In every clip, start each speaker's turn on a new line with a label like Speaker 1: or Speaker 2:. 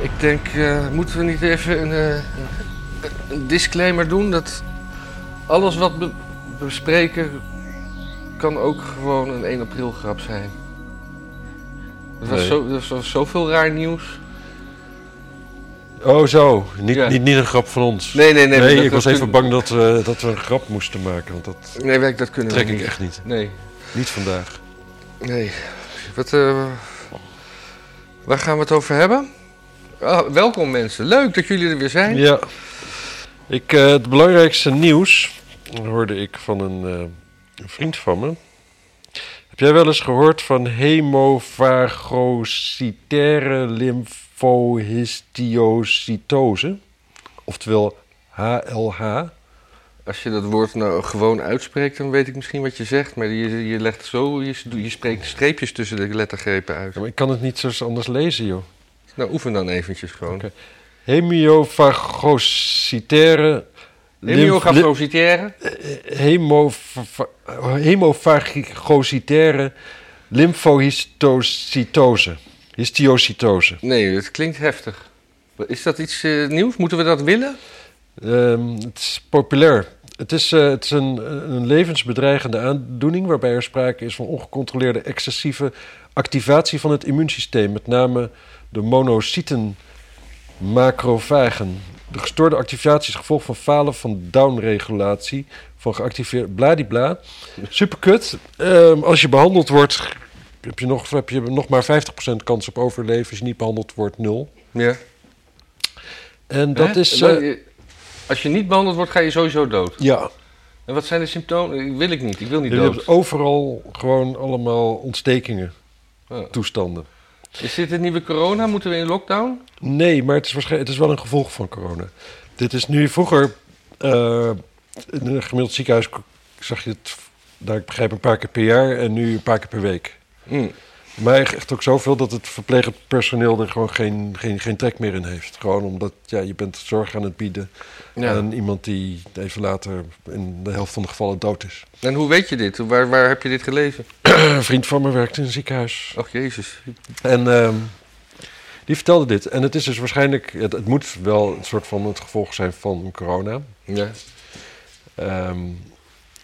Speaker 1: Ik denk, eh, moeten we niet even een, eh, een disclaimer doen dat alles wat we bespreken kan ook gewoon een 1 april grap zijn. Er was,
Speaker 2: Nee.
Speaker 1: zo, er was zoveel raar nieuws.
Speaker 2: Oh, zo. Niet,
Speaker 1: Ja.
Speaker 2: niet, niet een grap van ons.
Speaker 1: Nee, nee, nee.
Speaker 2: Nee,
Speaker 1: dat-
Speaker 2: ik was
Speaker 1: dat
Speaker 2: even
Speaker 1: kun-
Speaker 2: bang dat, we- dat we een grap moesten maken, want dat
Speaker 1: Nee, werk, dat kunnen
Speaker 2: trek
Speaker 1: we
Speaker 2: ik
Speaker 1: niet.
Speaker 2: echt niet.
Speaker 1: Nee,
Speaker 2: Niet vandaag.
Speaker 1: nee. Wat, eh, waar gaan we het over hebben? Ah, welkom mensen. Leuk dat jullie er weer zijn.
Speaker 2: Ja. Ik, eh, het belangrijkste nieuws hoorde ik van een, eh, een vriend van me. Heb jij wel eens gehoord van hemophagocytaire lymfohistiocytose? Oftewel HLH.
Speaker 1: Als je dat woord nou gewoon uitspreekt, dan weet ik misschien wat je zegt. Maar je, je legt zo, je, je spreekt streepjes tussen de lettergrepen uit.
Speaker 2: Ja, maar ik kan het niet zo anders lezen, joh.
Speaker 1: Nou, oefen dan eventjes gewoon.
Speaker 2: Oké. Hemiofagocytaire... lymf-
Speaker 1: Hemiogafrositaire.
Speaker 2: eh, hemova- hemofagocitaire lymfohistocytose. Histiocytose.
Speaker 1: Nee, het klinkt heftig. Is dat iets eh, nieuws? Moeten we dat willen?
Speaker 2: Ehm, het is populair. Het is, eh, het is een, een levensbedreigende aandoening waarbij er sprake is van ongecontroleerde excessieve activatie van het immuunsysteem, met name de monocyten, macrofagen. De gestoorde activatie is gevolg van falen van downregulatie van geactiveerd bladibla. Superkut. Ehm, als je behandeld wordt, heb je, nog, heb je nog maar 50% kans op overleven. Als je niet behandeld wordt, nul.
Speaker 1: Ja.
Speaker 2: En dat
Speaker 1: Hè?
Speaker 2: is.
Speaker 1: Maar,
Speaker 2: eh,
Speaker 1: eh, Als je niet behandeld wordt, ga je sowieso dood.
Speaker 2: ja,
Speaker 1: En wat zijn de symptomen? Ik wil ik niet. Ik wil niet
Speaker 2: Je hebt
Speaker 1: dood.
Speaker 2: overal gewoon allemaal ontstekingen,
Speaker 1: Ja.
Speaker 2: toestanden.
Speaker 1: Oh. Is dit het nieuwe corona? Moeten we in lockdown?
Speaker 2: Nee, maar het is, waarschijnlijk, het is wel een gevolg van corona. Dit is nu vroeger eh, in een gemiddeld ziekenhuis k- zag je het, nou, ik begrijp, een paar keer per jaar en nu een paar keer per week.
Speaker 1: Hm.
Speaker 2: Maar echt ook zoveel dat het verplegend personeel er gewoon geen, geen, geen trek meer in heeft. Gewoon omdat ja, je bent zorg aan het bieden
Speaker 1: Ja.
Speaker 2: aan iemand die even later in de helft van de gevallen dood is.
Speaker 1: En hoe weet je dit? Waar, waar heb je dit gelezen?
Speaker 2: Een vriend van me werkt in een ziekenhuis.
Speaker 1: Och, jezus.
Speaker 2: En ehm, die vertelde dit. En het is dus waarschijnlijk, het, het moet wel een soort van het gevolg zijn van corona.
Speaker 1: Ja.
Speaker 2: Ehm,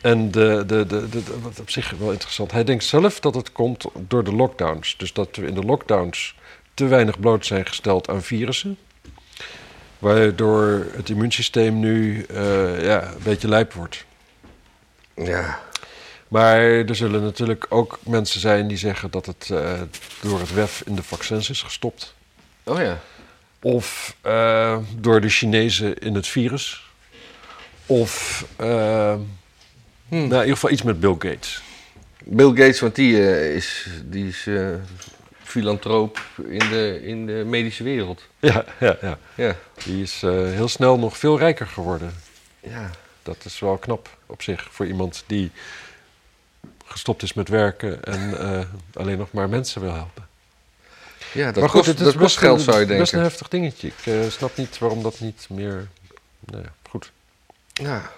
Speaker 2: en de, de, de, de, de- wat op zich wel interessant. Hij denkt zelf dat het komt door de lockdowns. Dus dat we in de lockdowns te weinig bloot zijn gesteld aan virussen. Waardoor het immuunsysteem nu eh, ja, een beetje lijp wordt.
Speaker 1: Ja.
Speaker 2: Maar er zullen natuurlijk ook mensen zijn die zeggen dat het eh, door het WEF in de vaccins is gestopt.
Speaker 1: Oh ja.
Speaker 2: Of eh, door de Chinezen in het virus. Of eh, nou, in ieder geval iets met Bill Gates.
Speaker 1: Bill Gates, want die eh, is, die is eh, filantroop in de, in de medische wereld.
Speaker 2: Ja, ja, ja.
Speaker 1: Ja.
Speaker 2: Die is eh, heel snel nog veel rijker geworden.
Speaker 1: ja.
Speaker 2: Dat is wel knap op zich voor iemand die gestopt is met werken en eh, alleen nog maar mensen wil helpen.
Speaker 1: Ja, dat
Speaker 2: maar
Speaker 1: kost, dat kost
Speaker 2: een-
Speaker 1: geld, zou je
Speaker 2: het is best
Speaker 1: denken.
Speaker 2: een heftig dingetje. Ik eh, snap niet waarom dat niet meer... Nou ja, goed.
Speaker 1: Ja.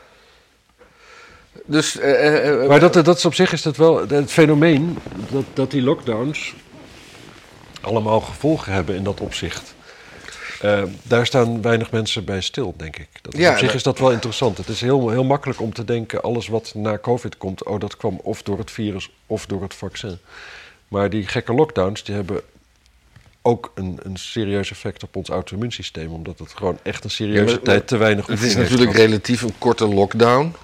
Speaker 1: Dus, eh, eh, eh,
Speaker 2: Maar dat, dat is op zich is dat wel het fenomeen dat, dat die lockdowns allemaal gevolgen hebben in dat opzicht. Eh, daar staan weinig mensen bij stil, denk ik. Dat is
Speaker 1: Ja,
Speaker 2: op zich
Speaker 1: dat-
Speaker 2: is dat wel interessant. Het is heel, heel makkelijk om te denken, alles wat na COVID komt, oh, dat kwam of door het virus of door het vaccin. Maar die gekke lockdowns, die hebben ook een, een serieus effect op ons auto-immuunsysteem, omdat het gewoon echt een serieuze
Speaker 1: Ja, maar-
Speaker 2: tijd te weinig
Speaker 1: het
Speaker 2: oefening
Speaker 1: is
Speaker 2: heeft
Speaker 1: natuurlijk
Speaker 2: gehad.
Speaker 1: relatief een korte lockdown.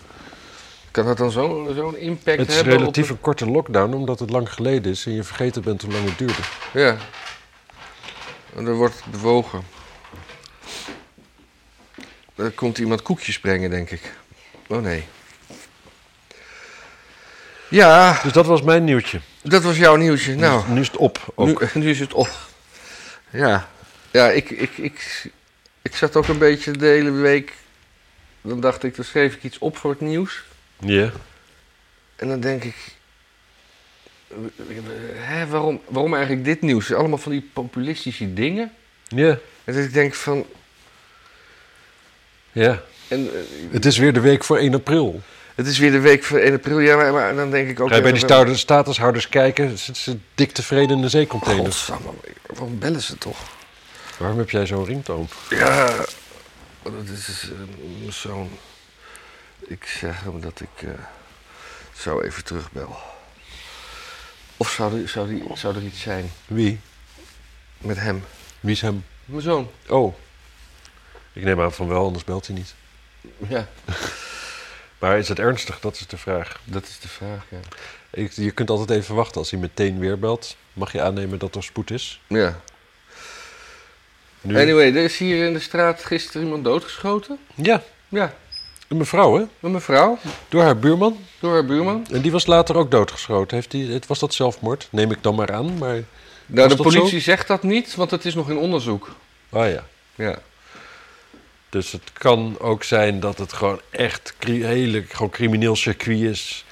Speaker 1: Kan dat dan zo- zo'n impact
Speaker 2: Het is
Speaker 1: hebben? op
Speaker 2: relatief een korte lockdown, omdat het lang geleden is en je vergeten bent hoe lang het duurde.
Speaker 1: de- Ja. En er wordt bewogen. Er komt iemand koekjes brengen, denk ik. Oh nee. Ja,
Speaker 2: Dus dat was mijn nieuwtje.
Speaker 1: dat was jouw nieuwtje. Nou.
Speaker 2: Nu is het op. Ook.
Speaker 1: Nu, nu is het op. Ja, ja ik, ik, ik, ik zat ook een beetje de hele week. Dan dacht ik, dan schreef ik iets op voor het nieuws.
Speaker 2: Ja.
Speaker 1: En dan denk ik. eh, Hè, waarom, waarom eigenlijk dit nieuws? Allemaal van die populistische dingen.
Speaker 2: Ja.
Speaker 1: En dat ik denk van.
Speaker 2: Ja.
Speaker 1: En, eh,
Speaker 2: Het is weer de week voor 1 april.
Speaker 1: het is weer de week van 1 april. Ja, maar, maar dan denk ik ook.
Speaker 2: Ga je bij
Speaker 1: ja,
Speaker 2: die
Speaker 1: maar-
Speaker 2: sta- statushouders kijken, zitten ze dik tevreden in de zeecontainers.
Speaker 1: Godsamme, waarom bellen ze toch?
Speaker 2: Waarom heb jij zo'n ringtoon?
Speaker 1: Ja, dat Oh, is eh, mijn zoon. Ik zeg hem dat ik eh, zo even terugbel. Of zou er, zou, die, zou er iets zijn
Speaker 2: Wie?
Speaker 1: met hem?
Speaker 2: Wie is hem?
Speaker 1: Mijn zoon.
Speaker 2: Oh. Ik neem aan van wel, anders belt hij niet.
Speaker 1: Ja,
Speaker 2: Maar is het ernstig? Dat is de vraag.
Speaker 1: dat is de vraag, ja.
Speaker 2: Ik- je kunt altijd even wachten. Als hij meteen weer belt, mag je aannemen dat er spoed is.
Speaker 1: Ja.
Speaker 2: Nu...
Speaker 1: Anyway, er is hier in de straat gisteren iemand doodgeschoten.
Speaker 2: Ja,
Speaker 1: Ja,
Speaker 2: een mevrouw, hè?
Speaker 1: een mevrouw,
Speaker 2: Door haar buurman.
Speaker 1: door haar buurman.
Speaker 2: En die was later ook doodgeschoten. Heeft die, het was dat zelfmoord? Neem ik dan maar aan. Maar... Was
Speaker 1: Nou, de
Speaker 2: dat zo?
Speaker 1: politie zegt dat niet, want het is nog in onderzoek.
Speaker 2: Ah ja.
Speaker 1: Ja.
Speaker 2: Dus het kan ook zijn dat het gewoon echt cri- hele gewoon crimineel circuit is.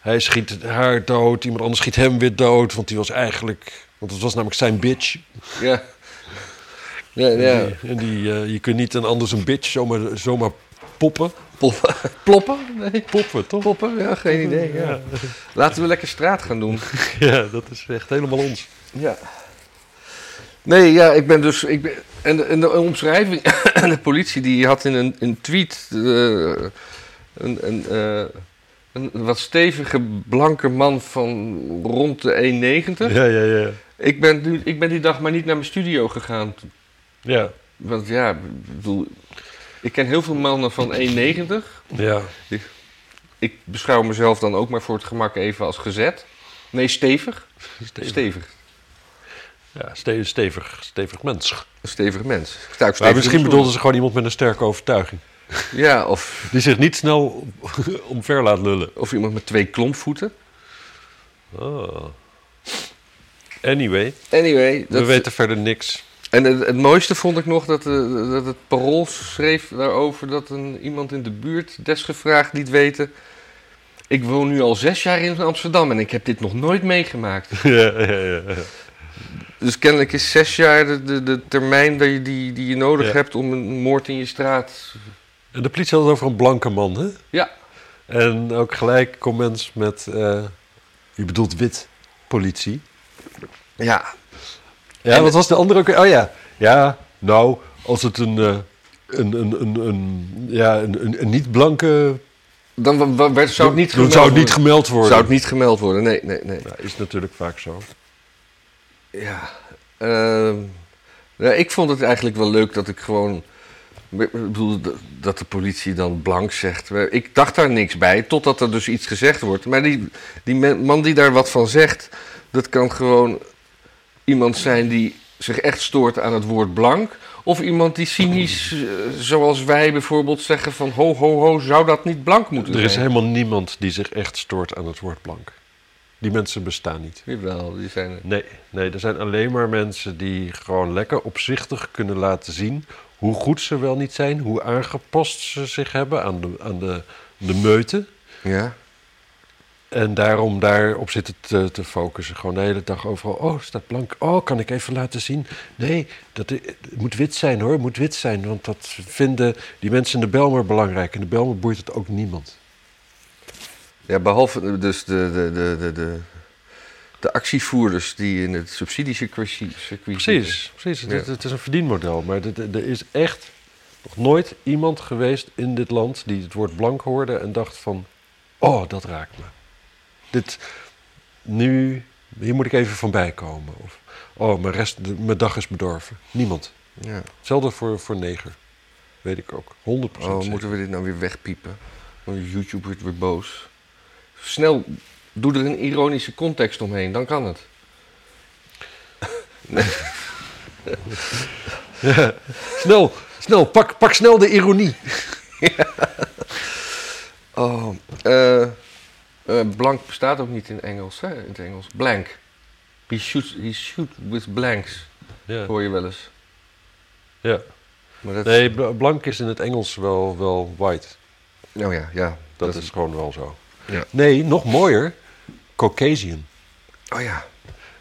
Speaker 2: Hij schiet haar dood, iemand anders schiet hem weer dood. Want die was eigenlijk... Want het was namelijk zijn bitch.
Speaker 1: Ja. Ja,
Speaker 2: En
Speaker 1: ja.
Speaker 2: die- En die, eh, je kunt niet een ander zijn bitch zomaar, zomaar poppen.
Speaker 1: Ploppen. Ploppen? Nee.
Speaker 2: Poppen, toch?
Speaker 1: Poppen? Ja, geen idee. Ja. Laten we lekker straat gaan doen.
Speaker 2: Ja, dat is echt helemaal ons.
Speaker 1: Ja. Nee, ja, ik ben dus. Ik ben, en, de, en de omschrijving. de politie die had in een, een tweet. eh, een, een, eh, een wat stevige blanke man van rond de 1,90.
Speaker 2: Ja, ja, ja.
Speaker 1: Ik, ben nu, ik ben die dag maar niet naar mijn studio gegaan.
Speaker 2: Ja,
Speaker 1: Want ja, ik bedoel. Ik ken heel veel mannen van 1,90.
Speaker 2: ja.
Speaker 1: Ik beschouw mezelf dan ook maar voor het gemak even als gezet. Nee, stevig.
Speaker 2: Stevig.
Speaker 1: Stevig.
Speaker 2: Ja, ste- stevig, stevig mens.
Speaker 1: Een stevig mens. Ik sta ook stevig in
Speaker 2: Maar
Speaker 1: mijn
Speaker 2: misschien
Speaker 1: schoenen.
Speaker 2: bedoelden ze gewoon iemand met een sterke overtuiging.
Speaker 1: Ja, of
Speaker 2: Die zich niet snel omver laat lullen.
Speaker 1: Of iemand met twee klompvoeten.
Speaker 2: Oh. Anyway,
Speaker 1: Anyway,
Speaker 2: we
Speaker 1: dat,
Speaker 2: weten verder niks.
Speaker 1: en het, het mooiste vond ik nog dat, eh, dat het parool schreef daarover dat een, iemand in de buurt desgevraagd liet weten. Ik woon nu al zes jaar in Amsterdam en ik heb dit nog nooit meegemaakt.
Speaker 2: ja, ja, ja.
Speaker 1: Dus kennelijk is zes jaar de, de, de termijn die, die, die je nodig
Speaker 2: Ja.
Speaker 1: hebt om een moord in je straat.
Speaker 2: En de politie had het over een blanke man, hè?
Speaker 1: Ja.
Speaker 2: En ook gelijk comments met... eh, u bedoelt wit politie.
Speaker 1: Ja,
Speaker 2: Ja,
Speaker 1: En-
Speaker 2: wat was de andere ook? weer? Oh ja, ja, nou, als het een, eh, een, een, een, een, ja, een, een, een niet-blanke...
Speaker 1: dan wa- wa- werd, zou het niet
Speaker 2: Dan
Speaker 1: gemeld
Speaker 2: zou het niet
Speaker 1: worden.
Speaker 2: gemeld worden.
Speaker 1: Zou het niet gemeld worden, nee, nee, nee.
Speaker 2: Ja, is natuurlijk vaak zo.
Speaker 1: Ja, ehm, ja, ik vond het eigenlijk wel leuk dat ik gewoon. Ik bedoel, d- dat de politie dan blank zegt. Ik dacht daar niks bij, totdat er dus iets gezegd wordt. Maar die, die men- man die daar wat van zegt, dat kan gewoon iemand zijn die zich echt stoort aan het woord blank. Of iemand die cynisch, eh, zoals wij bijvoorbeeld, zeggen van ho, ho, ho, zou dat niet blank moeten
Speaker 2: Er is
Speaker 1: zijn?
Speaker 2: helemaal niemand die zich echt stoort aan het woord blank. Die mensen bestaan niet.
Speaker 1: Jawel, die zijn...
Speaker 2: Nee, nee, er zijn alleen maar mensen die gewoon lekker opzichtig kunnen laten zien hoe goed ze wel niet zijn, hoe aangepast ze zich hebben aan de, aan de, de meute.
Speaker 1: Ja?
Speaker 2: En daarom daarop zitten te, te focussen. Gewoon de hele dag overal. Oh, staat blank. Oh, kan ik even laten zien? Nee, dat, i- het moet wit zijn hoor. Het moet wit zijn. Want dat vinden die mensen in de Belmer belangrijk. In de Belmer boeit het ook niemand.
Speaker 1: Ja, behalve dus de, de, de, de, de, de actievoerders die in het subsidiecircuit circuit zitten.
Speaker 2: Precies, precies. Het, is- het is een verdienmodel. Maar dit- er is echt nog nooit iemand geweest in dit land die het woord blank hoorde en dacht van, oh, dat raakt me. Dit, nu, hier moet ik even van bijkomen. Of, oh, mijn, rest, de- mijn dag is bedorven. Niemand.
Speaker 1: Ja.
Speaker 2: Hetzelfde voor, voor neger. Weet ik ook. 100%
Speaker 1: Oh,
Speaker 2: zeker.
Speaker 1: moeten we dit nou weer wegpiepen? Want YouTube wordt weer boos. Snel, doe er een ironische context omheen, dan kan het.
Speaker 2: Snel, snel, pak, pak snel de ironie.
Speaker 1: Oh, eh, eh, blank bestaat ook niet in Engels, hè? In het Engels. Blank. He shoots, he shoot with blanks,
Speaker 2: Ja,
Speaker 1: hoor je wel eens.
Speaker 2: ja.
Speaker 1: Maar dat,
Speaker 2: Nee, bl- blank is in het Engels wel, wel white.
Speaker 1: Oh ja, ja.
Speaker 2: Dat, is gewoon wel zo.
Speaker 1: Ja.
Speaker 2: Nee, nog mooier. Caucasian.
Speaker 1: Oh ja.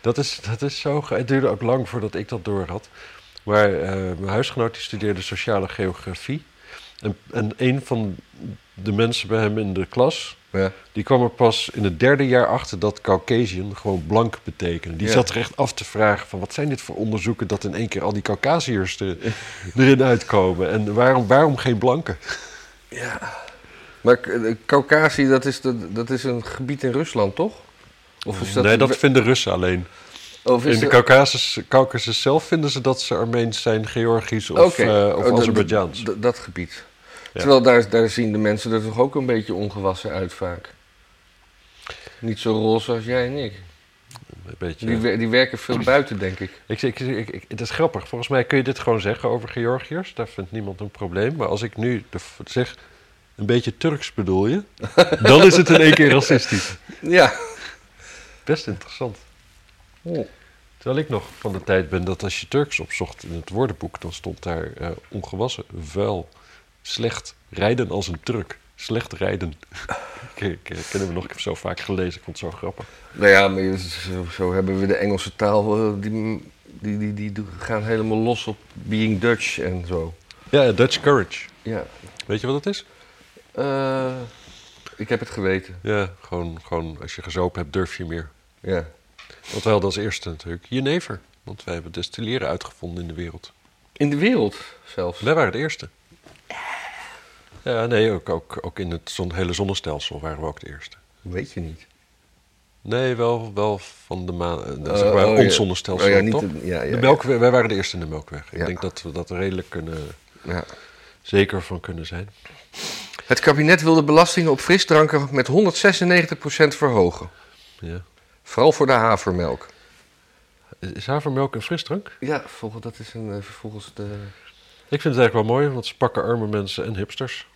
Speaker 2: Dat is, dat is zo... ge- Het duurde ook lang voordat ik dat door had. Maar eh, mijn huisgenoot die studeerde sociale geografie. En, en een van de mensen bij hem in de klas...
Speaker 1: Ja.
Speaker 2: Die kwam er pas in het derde jaar achter dat Caucasian gewoon blank betekent. Die
Speaker 1: Ja.
Speaker 2: zat er echt af te vragen van wat zijn dit voor onderzoeken dat in één keer al die Caucasiërs er- erin uitkomen. En waarom, waarom geen blanken?
Speaker 1: Maar K- de Caucasie, dat is, de, dat is een gebied in Rusland, toch? Of is dat...
Speaker 2: nee, dat vinden Russen alleen.
Speaker 1: of is
Speaker 2: In de
Speaker 1: dat-
Speaker 2: Caucasus, Caucasus zelf vinden ze dat ze Armeens zijn, Georgisch of,
Speaker 1: Oké.
Speaker 2: eh,
Speaker 1: Oh,
Speaker 2: of
Speaker 1: dat-
Speaker 2: Azerbeidzjaans.
Speaker 1: dat- Dat gebied. Terwijl daar, daar zien de mensen er toch ook een beetje ongewassen uit vaak. Niet zo roze als jij en ik.
Speaker 2: Een beetje.
Speaker 1: Die, wer- die werken veel buiten, denk ik.
Speaker 2: Ik, ik, ik, ik- het is grappig. Volgens mij kun je dit gewoon zeggen over Georgiërs. Daar vindt niemand een probleem. Maar als ik nu de f- zeg, een beetje Turks bedoel je, dan is het in één keer racistisch.
Speaker 1: Ja.
Speaker 2: Best interessant.
Speaker 1: Oh.
Speaker 2: Terwijl ik nog van de tijd ben dat als je Turks opzocht in het woordenboek, dan stond daar eh, ongewassen, vuil, slecht, rijden als een Turk. Slecht rijden. Ik- ik- ik ken hem nog, ik heb zo vaak gelezen, ik vond het zo grappig.
Speaker 1: Nou ja, maar je- zo, zo hebben we de Engelse taal. eh, Die, die, die, die do- gaan helemaal los op being Dutch en zo.
Speaker 2: Ja, Dutch courage.
Speaker 1: Ja.
Speaker 2: Weet je wat dat is?
Speaker 1: Eh, ik heb het geweten.
Speaker 2: Ja, gewoon, gewoon als je gezopen hebt, durf je meer.
Speaker 1: Ja.
Speaker 2: Want wij hadden als eerste natuurlijk jenever. Want wij hebben destilleren uitgevonden in de wereld.
Speaker 1: In de wereld zelfs.
Speaker 2: Wij waren de eerste. Ja, nee, ook, ook, ook in het zon, hele zonnestelsel waren we ook de eerste.
Speaker 1: Weet je niet.
Speaker 2: Nee, wel, wel van de maan. eh,
Speaker 1: Eh,
Speaker 2: zeg maar,
Speaker 1: oh,
Speaker 2: ons
Speaker 1: ja.
Speaker 2: zonnestelsel,
Speaker 1: Oh ja, niet
Speaker 2: toch?
Speaker 1: de- ja, ja,
Speaker 2: de
Speaker 1: ja.
Speaker 2: Melkweg, wij waren de eerste in de Melkweg.
Speaker 1: Ja.
Speaker 2: Ik denk dat we dat redelijk kunnen,
Speaker 1: Ja.
Speaker 2: zeker van kunnen zijn.
Speaker 1: Het kabinet wil de belastingen op frisdranken met 196% verhogen.
Speaker 2: Ja.
Speaker 1: Vooral voor de havermelk.
Speaker 2: Is- Is havermelk een frisdrank?
Speaker 1: Ja, volgens, dat is een, eh, volgens de...
Speaker 2: Ik vind het eigenlijk wel mooi, want ze pakken arme mensen en hipsters.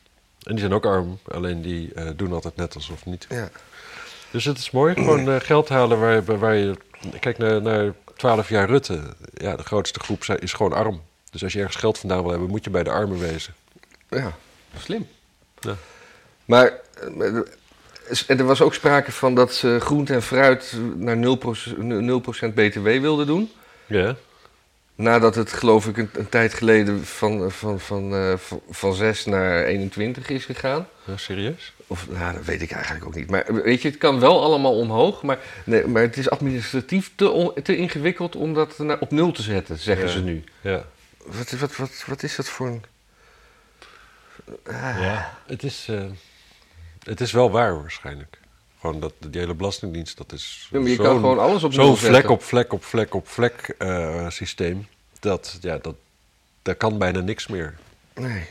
Speaker 2: En die zijn ook arm, alleen die eh, doen altijd net alsof niet.
Speaker 1: Ja.
Speaker 2: Dus het is mooi, gewoon eh, geld halen waar, waar- waar je... Kijk naar, naar 12 jaar Rutte. Ja, de grootste groep zijn- is gewoon arm. Dus als je ergens geld vandaan wil hebben, moet je bij de armen wezen.
Speaker 1: ja, slim.
Speaker 2: Ja.
Speaker 1: Maar eh, er was ook sprake van dat ze groente en fruit naar 0%, 0% BTW wilden doen.
Speaker 2: Ja,
Speaker 1: Nadat het, geloof ik, een, een tijd geleden van, van, van, eh, van, van 6 naar 21 is gegaan.
Speaker 2: nou, serieus?
Speaker 1: Of, nou, dat weet ik eigenlijk ook niet. Maar weet je, het kan wel allemaal omhoog. Maar, nee, maar het is administratief te, on- te ingewikkeld om dat naar- op nul te zetten, zeggen
Speaker 2: Ja.
Speaker 1: ze nu.
Speaker 2: Ja.
Speaker 1: Wat, wat, wat, wat is dat voor een...
Speaker 2: ja. Het, is, eh, het is wel waar waarschijnlijk. Gewoon dat die hele belastingdienst, dat is
Speaker 1: Ja, maar je
Speaker 2: zo'n-
Speaker 1: kan gewoon alles op nul
Speaker 2: zo'n
Speaker 1: zetten.
Speaker 2: vlek op vlek op vlek op vlek eh, systeem. Dat, ja, dat, daar kan bijna niks meer.
Speaker 1: Nee,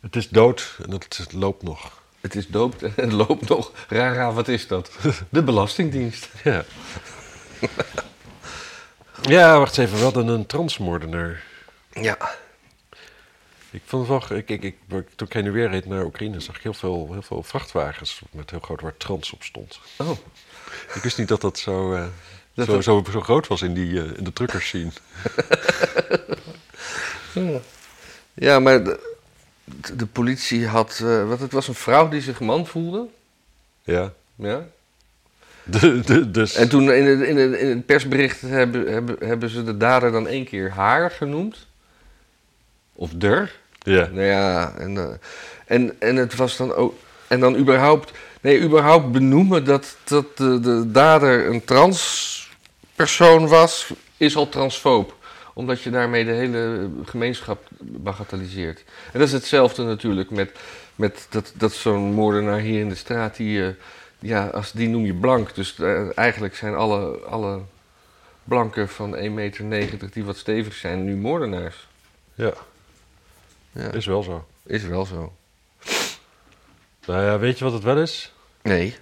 Speaker 2: Het is dood en het loopt nog.
Speaker 1: het is doopt en het loopt nog. Rara, wat is dat? De Belastingdienst.
Speaker 2: Ja. ja, wacht even. We hadden een transmoordenaar.
Speaker 1: Ja.
Speaker 2: Ik vond het wel... Ik, ik, ik, toen ik heen en weer reed naar Oekraïne... zag ik heel veel, heel veel vrachtwagens met heel groot waar trans op stond.
Speaker 1: Oh,
Speaker 2: Ik wist niet dat dat zo, eh,
Speaker 1: Dat
Speaker 2: zo,
Speaker 1: dat-
Speaker 2: zo, zo groot was in, die, eh, in de truckers scene.
Speaker 1: ja, maar de, de politie had... eh, wat, het was een vrouw die zich man voelde.
Speaker 2: Ja.
Speaker 1: Ja.
Speaker 2: De, de, dus...
Speaker 1: En toen in het, in het, in het persbericht hebben, hebben, hebben ze de dader dan één keer haar genoemd. Of der.
Speaker 2: Ja.
Speaker 1: Nou ja, en, eh, en, en het was dan ook. En dan überhaupt. Nee, überhaupt benoemen dat, dat de, de dader een transpersoon was, is al transfoob. Omdat je daarmee de hele gemeenschap bagatelliseert. En dat is hetzelfde natuurlijk met, met dat, dat zo'n moordenaar hier in de straat. Die, eh, ja, als, die noem je blank. Dus eh, eigenlijk zijn alle, alle blanken van 1,90 meter die wat stevig zijn nu moordenaars.
Speaker 2: ja.
Speaker 1: Ja.
Speaker 2: Is wel zo.
Speaker 1: Is wel zo.
Speaker 2: Nou ja, weet je wat het wel is?
Speaker 1: Nee.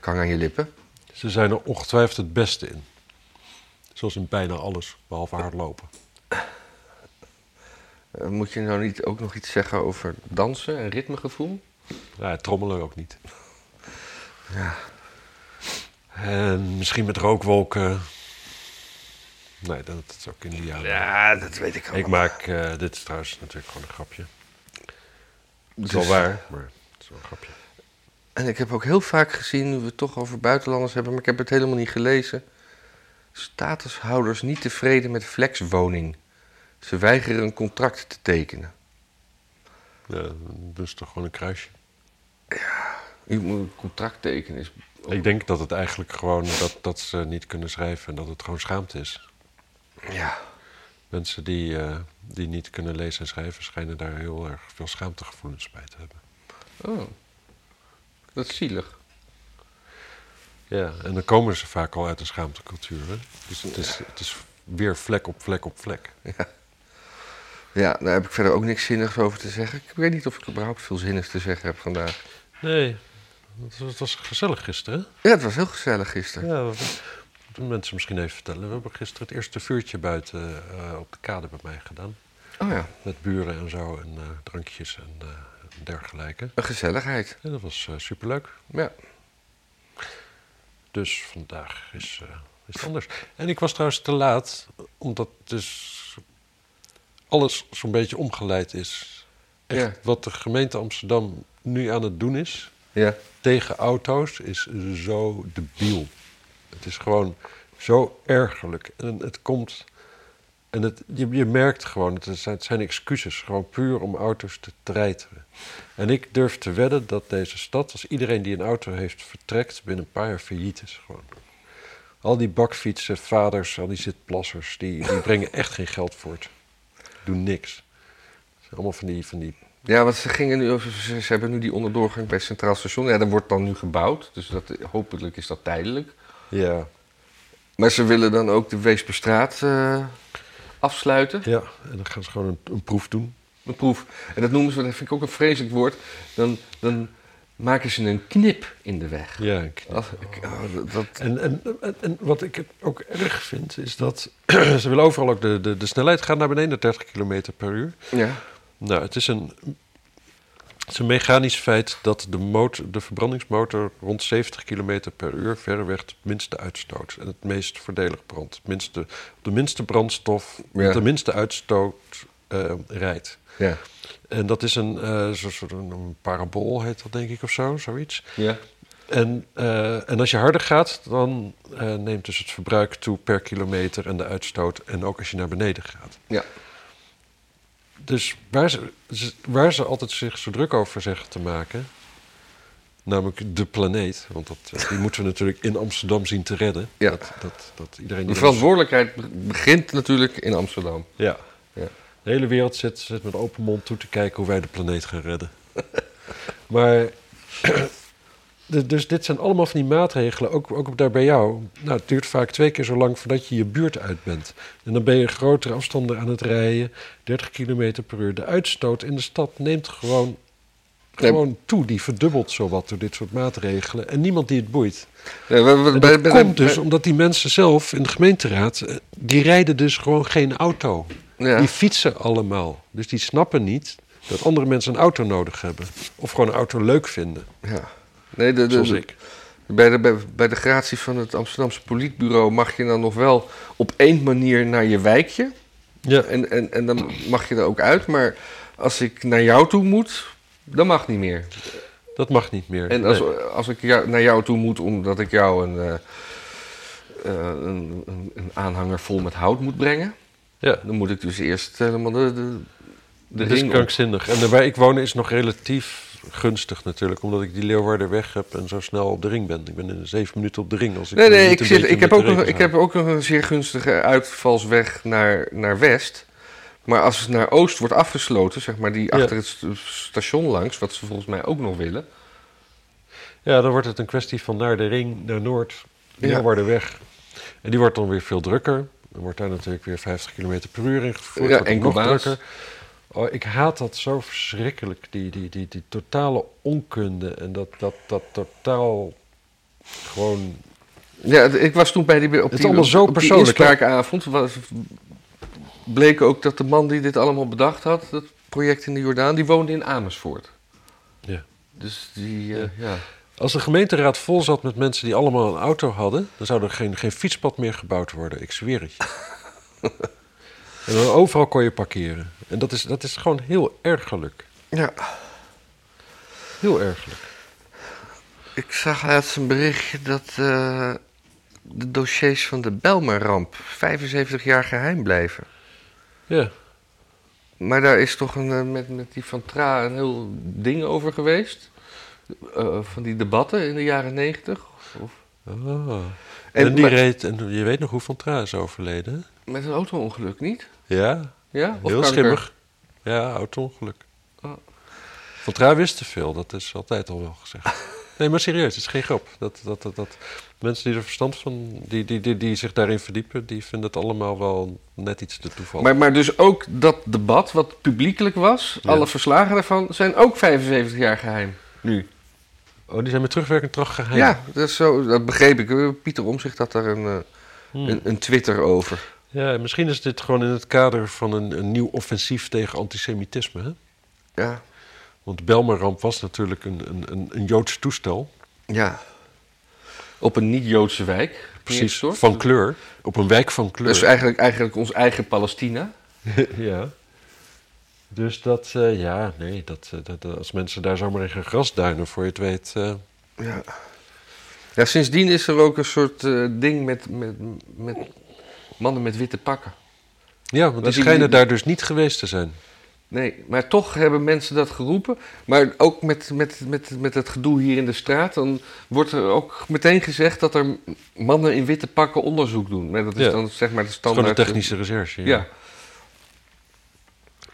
Speaker 1: Kang aan je lippen.
Speaker 2: Ze zijn er ongetwijfeld het beste in. Zoals in bijna alles, behalve hardlopen.
Speaker 1: Eh, moet je nou niet ook nog iets zeggen over dansen en ritmegevoel?
Speaker 2: Ja, trommelen ook niet. En misschien met rookwolken. Nee, dat is ook in die jaren.
Speaker 1: Ja, dat weet ik
Speaker 2: Ik maak, eh, dit is trouwens natuurlijk gewoon een grapje. Het is
Speaker 1: Dus-
Speaker 2: wel waar, maar het is wel een grapje.
Speaker 1: En ik heb ook heel vaak gezien, nu we het toch over buitenlanders hebben, maar ik heb het helemaal niet gelezen. Statushouders niet tevreden met flexwoning. Ze weigeren een contract te tekenen.
Speaker 2: Ja, dus toch gewoon een kruisje.
Speaker 1: Ik moet een contract tekenen. Is
Speaker 2: Ik denk dat het eigenlijk gewoon dat, dat ze niet kunnen schrijven en dat het gewoon schaamte is.
Speaker 1: Ja.
Speaker 2: Mensen die, eh, die niet kunnen lezen en schrijven schijnen daar heel erg veel schaamtegevoelens bij te hebben.
Speaker 1: Oh. Dat is zielig.
Speaker 2: Ja, en dan komen ze vaak al uit een schaamtecultuur. Hè? Dus het is, het is weer vlek op vlek op vlek.
Speaker 1: Ja, daar heb ik verder ook niks zinnigs over te zeggen. Ik weet niet of ik überhaupt veel zinnigs te zeggen heb vandaag.
Speaker 2: Nee, het was, het was gezellig gisteren. hè?
Speaker 1: Ja, het was heel gezellig gisteren.
Speaker 2: Ja, we- moeten mensen misschien even vertellen. We hebben gisteren het eerste vuurtje buiten eh, op de kade bij mij gedaan.
Speaker 1: Oh ja,
Speaker 2: Met buren en zo en eh, drankjes en eh, dergelijke.
Speaker 1: een gezelligheid.
Speaker 2: En dat was eh, superleuk.
Speaker 1: Ja.
Speaker 2: Dus vandaag is, eh, is het anders. En ik was trouwens te laat, omdat dus alles zo'n beetje omgeleid is. Echt,
Speaker 1: Ja.
Speaker 2: Wat de gemeente Amsterdam nu aan het doen is
Speaker 1: Ja.
Speaker 2: tegen auto's is zo debiel. Het is gewoon zo ergerlijk. En het komt. En het, je, je merkt gewoon, het zijn, het zijn excuses, gewoon puur om auto's te treiteren. En ik durf te wedden dat deze stad, als iedereen die een auto heeft vertrekt, binnen een paar jaar failliet is. Gewoon. Al die bakfietsen, vaders, al die zitplassers, die, die brengen echt geen geld voort. Doen niks. Het zijn allemaal van die, van die
Speaker 1: Ja, want ze gingen nu, ze, ze hebben nu die onderdoorgang bij het Centraal Station. Ja, dat wordt dan nu gebouwd, dus dat, hopelijk is dat tijdelijk.
Speaker 2: ja,
Speaker 1: Maar ze willen dan ook de Weesperstraat eh, afsluiten,
Speaker 2: ja, en dan gaan ze gewoon een, een proef doen.
Speaker 1: een proef. En dat noemen ze, dat vind ik ook een vreselijk woord, dan, dan maken ze een knip in de weg.
Speaker 2: Ja, ik-
Speaker 1: Als- ik- oh, dat- dat-
Speaker 2: en, en, en, en wat ik het ook erg vind, is dat ze willen overal ook de, de, de snelheid gaan naar beneden, 30 km per uur.
Speaker 1: ja.
Speaker 2: Nou, het is een, het is een mechanisch feit dat de, motor, de verbrandingsmotor rond 70 km per uur verreweg het minste uitstoot. En het meest voordelig brandt. Het minste, de minste brandstof,
Speaker 1: Ja.
Speaker 2: de minste uitstoot eh, rijdt.
Speaker 1: Ja.
Speaker 2: En dat is een, eh, zo- soort een, een parabool, heet dat denk ik of zo, zoiets.
Speaker 1: ja.
Speaker 2: En, eh, en als je harder gaat, dan eh, neemt dus het verbruik toe per kilometer en de uitstoot. En ook als je naar beneden gaat.
Speaker 1: Ja.
Speaker 2: Dus waar ze, ze- waar ze altijd zich zo druk over zeggen te maken, namelijk de planeet. Want dat, eh, die moeten we natuurlijk in Amsterdam zien te redden.
Speaker 1: Ja.
Speaker 2: Dat, dat, dat iedereen
Speaker 1: De
Speaker 2: die-
Speaker 1: verantwoordelijkheid be- begint natuurlijk in Amsterdam.
Speaker 2: Ja.
Speaker 1: Ja.
Speaker 2: De hele wereld zit, zit met open mond toe te kijken hoe wij de planeet gaan redden. maar. de- Dus dit zijn allemaal van die maatregelen, ook, ook daar bij jou. Nou, het duurt vaak twee keer zo lang voordat je je buurt uit bent. En dan ben je grotere afstanden aan het rijden, 30 km per uur. De uitstoot in de stad neemt gewoon,
Speaker 1: Nee.
Speaker 2: gewoon toe. Die verdubbelt zowat door dit soort maatregelen. En niemand die het boeit.
Speaker 1: Ja, we- we-
Speaker 2: En
Speaker 1: bij-
Speaker 2: dat
Speaker 1: bij-
Speaker 2: komt
Speaker 1: bij-
Speaker 2: dus omdat die mensen zelf in de gemeenteraad, eh, die rijden dus gewoon geen auto.
Speaker 1: ja.
Speaker 2: Die fietsen allemaal. Dus die snappen niet dat andere mensen een auto nodig hebben. Of gewoon een auto leuk vinden,
Speaker 1: Ja. Nee, de, de,
Speaker 2: zoals
Speaker 1: de-
Speaker 2: ik.
Speaker 1: Bij de, bij, bij de gratie van het Amsterdamse politbureau mag je dan nog wel op één manier naar je wijkje.
Speaker 2: Ja.
Speaker 1: En, en, en dan mag je er ook uit, maar als ik naar jou toe moet, dan mag niet meer.
Speaker 2: Dat mag niet meer.
Speaker 1: En als,
Speaker 2: Nee.
Speaker 1: als ik jou, naar jou toe moet omdat ik jou een, eh, eh, een, een, een aanhanger vol met hout moet brengen,
Speaker 2: ja.
Speaker 1: dan moet ik dus eerst helemaal de, de, de
Speaker 2: Dat is
Speaker 1: ring om.
Speaker 2: krankzinnig. En daar waar ik woon is nog relatief gunstig natuurlijk. Omdat ik die Leeuwardenweg heb en zo snel op de ring ben. Ik ben in zeven minuten op de ring. Als ik
Speaker 1: Nee,
Speaker 2: me
Speaker 1: nee,
Speaker 2: niet
Speaker 1: Dus ik,
Speaker 2: een
Speaker 1: zit,
Speaker 2: beetje
Speaker 1: ik, heb
Speaker 2: met
Speaker 1: ook
Speaker 2: de
Speaker 1: een,
Speaker 2: regels
Speaker 1: ik heb ook een zeer gunstige uitvalsweg naar, naar West. Maar als het naar Oost wordt afgesloten, zeg maar, die
Speaker 2: Ja.
Speaker 1: achter het st- station langs, wat ze volgens mij ook nog willen.
Speaker 2: houd. Ja, dan wordt het een kwestie van naar de ring, naar Noord,
Speaker 1: Ja.
Speaker 2: Leeuwardenweg. En die wordt dan weer veel drukker. Dan wordt daar natuurlijk weer 50 km per uur in gevoerd.
Speaker 1: Ja,
Speaker 2: wordt ook
Speaker 1: enkel
Speaker 2: nog
Speaker 1: baas.
Speaker 2: drukker. Oh, ik haat dat zo verschrikkelijk, die, die, die, die totale onkunde en dat, dat, dat totaal gewoon...
Speaker 1: Ja, het- ik was toen bij die, op
Speaker 2: Het is
Speaker 1: die,
Speaker 2: allemaal zo
Speaker 1: op die
Speaker 2: persoonlijk,
Speaker 1: inspraakavond. Was, bleek ook dat de man die dit allemaal bedacht had, dat project in de Jordaan, die woonde in Amersfoort.
Speaker 2: Ja.
Speaker 1: Dus die, eh, ja.
Speaker 2: Als de gemeenteraad vol zat met mensen die allemaal een auto hadden, dan zou er geen, geen fietspad meer gebouwd worden, ik zweer het je. en dan overal kon je parkeren. En dat is, dat is gewoon heel ergerlijk.
Speaker 1: ja.
Speaker 2: Heel ergerlijk.
Speaker 1: Ik zag laatst een berichtje dat eh, de dossiers van de Belmer-ramp 75 jaar geheim blijven.
Speaker 2: Ja,
Speaker 1: Maar daar is toch een, eh, met, met die van Tra een heel ding over geweest. eh, van die debatten in de jaren negentig.
Speaker 2: Ah. En,
Speaker 1: En
Speaker 2: die
Speaker 1: maar-
Speaker 2: reed, en je weet nog hoe Van Traa is overleden? hè?
Speaker 1: Met een auto-ongeluk, niet?
Speaker 2: Ja,
Speaker 1: Ja? Of
Speaker 2: heel
Speaker 1: kanker?
Speaker 2: schimmig. Ja, auto-ongeluk.
Speaker 1: Oh.
Speaker 2: Van Traa wist te veel, dat is altijd al wel gezegd. Nee, maar serieus, het is geen grap. Dat, dat, dat, dat, mensen die er verstand van, die, die, die, die zich daarin verdiepen, die vinden het allemaal wel net iets te toevallig.
Speaker 1: Maar, maar dus ook dat debat, wat publiekelijk was,
Speaker 2: Ja.
Speaker 1: alle verslagen daarvan, zijn ook 75 jaar geheim. Nu.
Speaker 2: Oh, die zijn met terugwerkend tracht geheim.
Speaker 1: Ja, dat, is zo, dat begreep ik. Eh, Pieter Omzicht had daar een, eh,
Speaker 2: Hmm.
Speaker 1: een, een Twitter over.
Speaker 2: Ja, misschien is dit gewoon in het kader van een, een nieuw offensief tegen antisemitisme. Hè?
Speaker 1: Ja,
Speaker 2: Want de Belmaramp was natuurlijk een, een, een, een Joods toestel.
Speaker 1: ja. Op een niet-Joodse wijk.
Speaker 2: Precies,
Speaker 1: Neerstort.
Speaker 2: van kleur. Op een wijk van kleur.
Speaker 1: Dus eigenlijk, eigenlijk ons eigen Palestina.
Speaker 2: ja. Dus dat, eh, ja, nee, dat, eh, dat, dat- als mensen daar zomaar in gaan grasduinen, voor je het weet. eh,
Speaker 1: Ja. ja, sindsdien is er ook een soort eh, ding met, met, met mannen met witte pakken.
Speaker 2: ja, want die
Speaker 1: die-
Speaker 2: schijnen
Speaker 1: die-
Speaker 2: daar dus niet geweest te zijn.
Speaker 1: Nee, maar toch hebben mensen dat geroepen. Maar ook met, met, met, met het gedoe hier in de straat, dan wordt er ook meteen gezegd dat er mannen in witte pakken onderzoek doen. Maar dat is
Speaker 2: Ja.
Speaker 1: dan zeg maar de
Speaker 2: Het is
Speaker 1: standaard.
Speaker 2: gewoon een technische recherche.
Speaker 1: eh, Ja.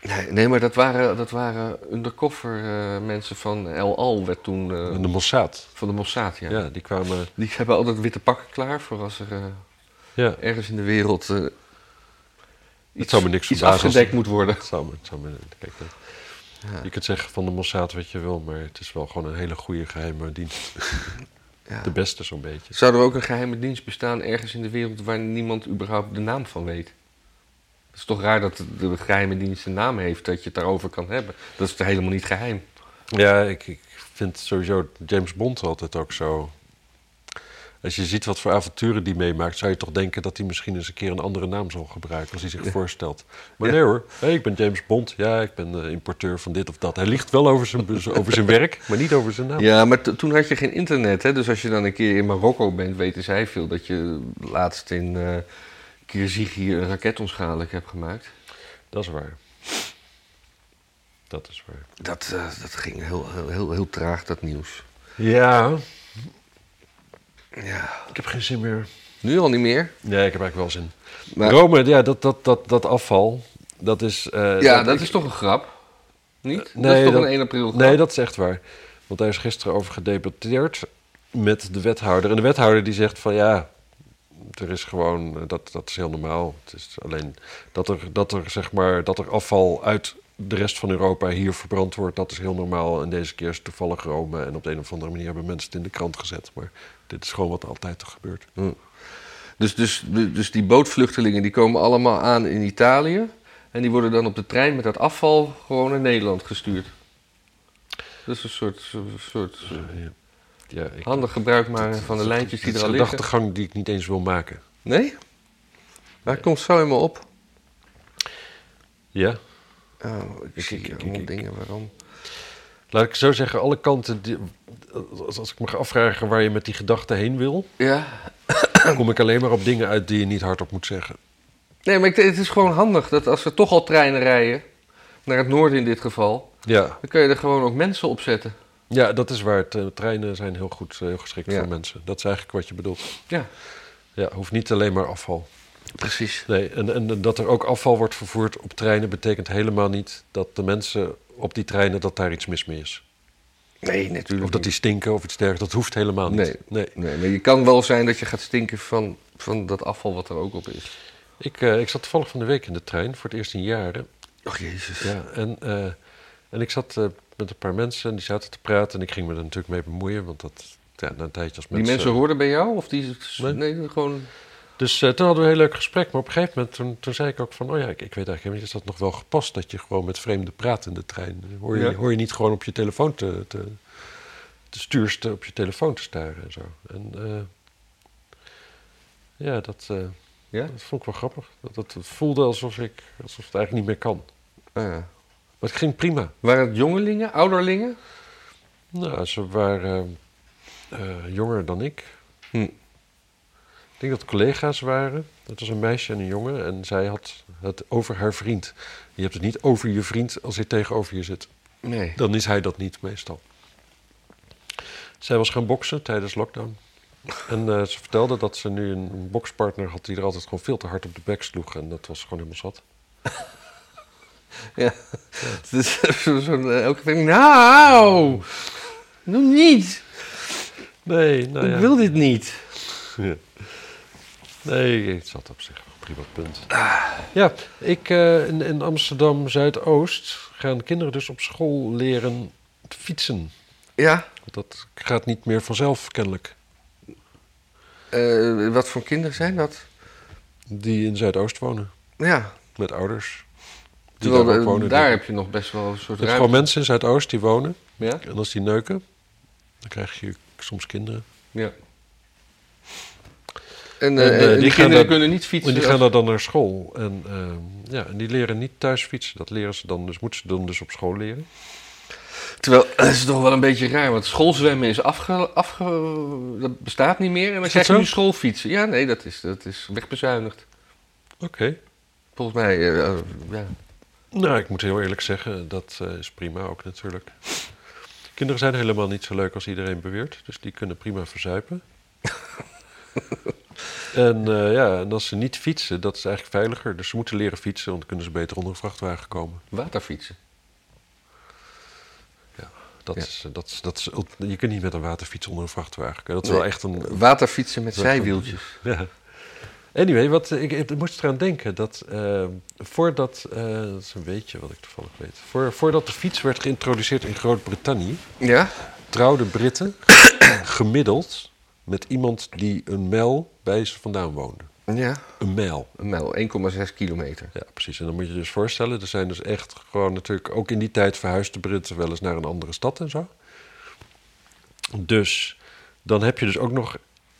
Speaker 1: Nee, nee, maar dat waren, dat waren undercover eh, mensen van El Al, werd toen eh,
Speaker 2: En de Mossad.
Speaker 1: van de Mossad. Ja.
Speaker 2: Ja. die kwamen.
Speaker 1: Die hebben altijd witte pakken klaar voor als er eh,
Speaker 2: Ja,
Speaker 1: ergens in de wereld eh, iets,
Speaker 2: zou me niks
Speaker 1: iets
Speaker 2: verbazen als-
Speaker 1: afgedekt moet worden.
Speaker 2: het zou me. Het zou me kijk, dat,
Speaker 1: Ja.
Speaker 2: Je kunt zeggen van de Mossad wat je wil, maar het is wel gewoon een hele goede geheime dienst.
Speaker 1: Ja.
Speaker 2: De beste zo'n beetje.
Speaker 1: Zou er ook een geheime dienst bestaan ergens in de wereld waar niemand überhaupt de naam van weet? Het is toch raar dat de geheime dienst een naam heeft, dat je het daarover kan hebben. Dat is toch helemaal niet geheim.
Speaker 2: Ja, ik, ik vind sowieso James Bond altijd ook zo. Als je ziet wat voor avonturen die meemaakt, zou je toch denken dat hij misschien eens een keer een andere naam zal gebruiken als hij zich voorstelt. Maar nee hoor, hey, ik ben James Bond, ja, ik ben eh, importeur van dit of dat. Hij liegt wel over zijn, over zijn werk, maar niet over zijn naam.
Speaker 1: Ja, maar t- toen had je geen internet, hè? dus als je dan een keer in Marokko bent, weten zij veel dat je laatst in eh Kirgizië een raket onschadelijk hebt gemaakt.
Speaker 2: Dat is waar. Dat is waar.
Speaker 1: Dat, eh, dat ging heel, heel, heel, heel traag, dat nieuws.
Speaker 2: Ja,
Speaker 1: Ja.
Speaker 2: ik heb geen zin meer.
Speaker 1: Nu al niet meer.
Speaker 2: Nee, ik heb eigenlijk wel zin.
Speaker 1: Maar,
Speaker 2: Rome, ja, dat, dat, dat, dat afval, dat is... eh,
Speaker 1: ja, dat
Speaker 2: ik-
Speaker 1: is toch een grap? Niet? dat
Speaker 2: Nee,
Speaker 1: is toch
Speaker 2: dat-
Speaker 1: een 1 april grap?
Speaker 2: Nee, dat is echt waar. Want daar is gisteren over gedebatteerd met de wethouder. En de wethouder die zegt van ja, er is gewoon, eh, dat, dat is heel normaal. Het is alleen dat er, dat er zeg maar, dat er afval uit de rest van Europa hier verbrand wordt, dat is heel normaal. En deze keer is het toevallig Rome. En op de een of andere manier hebben mensen het in de krant gezet. Maar dit is gewoon wat altijd gebeurt.
Speaker 1: Dus, dus, dus die bootvluchtelingen die komen allemaal aan in Italië. En die worden dan op de trein met dat afval gewoon naar Nederland gestuurd. Dat is een soort, soort- soort
Speaker 2: Ja, ik,
Speaker 1: handig gebruik maar van de lijntjes die
Speaker 2: dit
Speaker 1: er
Speaker 2: is
Speaker 1: al
Speaker 2: een
Speaker 1: liggen.
Speaker 2: gedachtegang die ik niet eens wil maken.
Speaker 1: Nee? Maar het komt zo in me op.
Speaker 2: Ja?
Speaker 1: Oh, ik,
Speaker 2: Ik- ik-
Speaker 1: zie
Speaker 2: ik-
Speaker 1: allemaal
Speaker 2: ik-
Speaker 1: dingen waarom.
Speaker 2: Laat ik zo zeggen, alle kanten. Die, als, als ik me ga afvragen waar je met die gedachte heen wil,
Speaker 1: Ja.
Speaker 2: kom ik alleen maar op dingen uit die je niet hardop moet zeggen.
Speaker 1: Nee, maar ik, het is gewoon handig dat als we toch al treinen rijden, naar het noorden in dit geval,
Speaker 2: Ja,
Speaker 1: dan kun je er gewoon ook mensen op zetten. eh,
Speaker 2: ja dat is waar. Tre- Treinen zijn heel goed eh, heel geschikt
Speaker 1: Ja.
Speaker 2: voor mensen. Dat is eigenlijk wat je bedoelt.
Speaker 1: Ja,
Speaker 2: Ja, hoeft niet alleen maar afval.
Speaker 1: precies.
Speaker 2: Nee, en, en dat er ook afval wordt vervoerd op treinen betekent helemaal niet dat de mensen op die treinen dat daar iets mis mee is.
Speaker 1: Nee, natuurlijk.
Speaker 2: Of dat die stinken of iets dergelijks. Dat hoeft helemaal niet.
Speaker 1: Nee.
Speaker 2: nee.
Speaker 1: Nee, maar je kan wel zijn dat je gaat stinken van, van dat afval wat er ook op is.
Speaker 2: Ik, eh, ik zat toevallig van de week in de trein voor het eerst in jaren.
Speaker 1: Och Oh, jezus.
Speaker 2: Ja, en, eh, en ik zat eh, met een paar mensen en die zaten te praten. En ik ging me er natuurlijk mee bemoeien, want dat, ja, na een tijdje als
Speaker 1: Die
Speaker 2: mensen...
Speaker 1: mensen hoorden bij jou? Of die.
Speaker 2: Nee.
Speaker 1: eh, Nee, gewoon.
Speaker 2: Dus eh, toen hadden we een heel leuk gesprek. Maar op een gegeven moment, toen, toen zei ik ook van... Oh ja, ik, ik weet eigenlijk niet, is dat nog wel gepast dat je gewoon met vreemden praat in de trein? Hoor je,
Speaker 1: Ja.
Speaker 2: hoor je niet gewoon op je telefoon te... te te stuurste op je telefoon te staren en zo. En eh, ja, dat, eh,
Speaker 1: Ja?
Speaker 2: dat vond ik wel grappig. Dat, dat voelde alsof, ik, alsof het eigenlijk niet meer kan.
Speaker 1: Ah, ja.
Speaker 2: Maar het ging prima.
Speaker 1: Waren het jongelingen, ouderlingen?
Speaker 2: Nou, ze waren eh, eh, jonger dan ik.
Speaker 1: Hm.
Speaker 2: Ik denk dat het collega's waren. Het was een meisje en een jongen. En zij had het over haar vriend. Je hebt het niet over je vriend als hij tegenover je zit.
Speaker 1: Nee.
Speaker 2: Dan is hij dat niet meestal. Zij was gaan boksen tijdens lockdown. En eh, ze vertelde dat ze nu een, een bokspartner had die er altijd gewoon veel te hard op de bek sloeg. En dat was ze gewoon helemaal zat.
Speaker 1: Ja. Dus zo'n eh, elke keer, nou, doe niet.
Speaker 2: Nee, nou ja.
Speaker 1: Ik wil dit niet.
Speaker 2: Ja. Nee, het zat op zich wel prima punt. Ja, ik, eh, in, in Amsterdam Zuidoost gaan kinderen dus op school leren te fietsen.
Speaker 1: Ja,
Speaker 2: Want Dat gaat niet meer vanzelf, kennelijk.
Speaker 1: eh, wat voor kinderen zijn dat?
Speaker 2: Die in Zuidoost wonen,
Speaker 1: Ja,
Speaker 2: met ouders. Die
Speaker 1: terwijl
Speaker 2: daar
Speaker 1: daar,
Speaker 2: ook wonen.
Speaker 1: daar
Speaker 2: denk ik.
Speaker 1: heb je nog best wel een soort
Speaker 2: Het zijn gewoon
Speaker 1: ruimte.
Speaker 2: mensen in Zuidoost die wonen.
Speaker 1: Ja?
Speaker 2: En als die neuken, dan krijg je soms kinderen.
Speaker 1: Ja. En,
Speaker 2: En,
Speaker 1: eh,
Speaker 2: eh,
Speaker 1: en
Speaker 2: die
Speaker 1: die
Speaker 2: gaan
Speaker 1: kinderen
Speaker 2: dan-
Speaker 1: kunnen niet fietsen.
Speaker 2: En die
Speaker 1: als-
Speaker 2: gaan daar dan naar school. En, eh, ja, en die leren niet thuis fietsen. Dat leren ze dan, dus moeten ze dan dus op school leren.
Speaker 1: Terwijl, eh, dat is toch wel een beetje raar, want schoolzwemmen is afge... afge dat bestaat niet meer. En dan
Speaker 2: dat
Speaker 1: krijg je
Speaker 2: zo?
Speaker 1: nu schoolfietsen. Ja, nee, dat is, dat is wegbezuinigd.
Speaker 2: Oké.
Speaker 1: Volgens mij, eh, eh, ja.
Speaker 2: Nou, ik moet heel eerlijk zeggen, dat eh, is prima ook natuurlijk. Kinderen zijn helemaal niet zo leuk als iedereen beweert, dus die kunnen prima verzuipen. en eh, ja, en als ze niet fietsen, dat is eigenlijk veiliger. Dus ze moeten leren fietsen, want dan kunnen ze beter onder een vrachtwagen komen.
Speaker 1: Waterfietsen.
Speaker 2: Dat
Speaker 1: Ja.
Speaker 2: is, eh, dat is, dat is, ult- je kunt niet met een waterfiets onder een vrachtwagen. Dat is wel
Speaker 1: Nee.
Speaker 2: echt een
Speaker 1: Waterfietsen met
Speaker 2: Dat is wel-
Speaker 1: zijwieltjes.
Speaker 2: Ja. Anyway, wat, ik, ik moest eraan denken dat eh, voordat, eh, dat is een beetje wat ik toevallig weet, voor, voordat de fiets werd geïntroduceerd in Groot-Brittannië,
Speaker 1: Ja?
Speaker 2: trouwde Britten gemiddeld met iemand die een mijl bij ze vandaan woonde.
Speaker 1: Ja.
Speaker 2: Een mijl.
Speaker 1: Een mijl, 1,6 kilometer.
Speaker 2: Ja, precies. En dan moet je je dus voorstellen, er zijn dus echt gewoon natuurlijk ook in die tijd verhuisde Britten wel eens naar een andere stad en zo. Dus dan heb je dus ook nog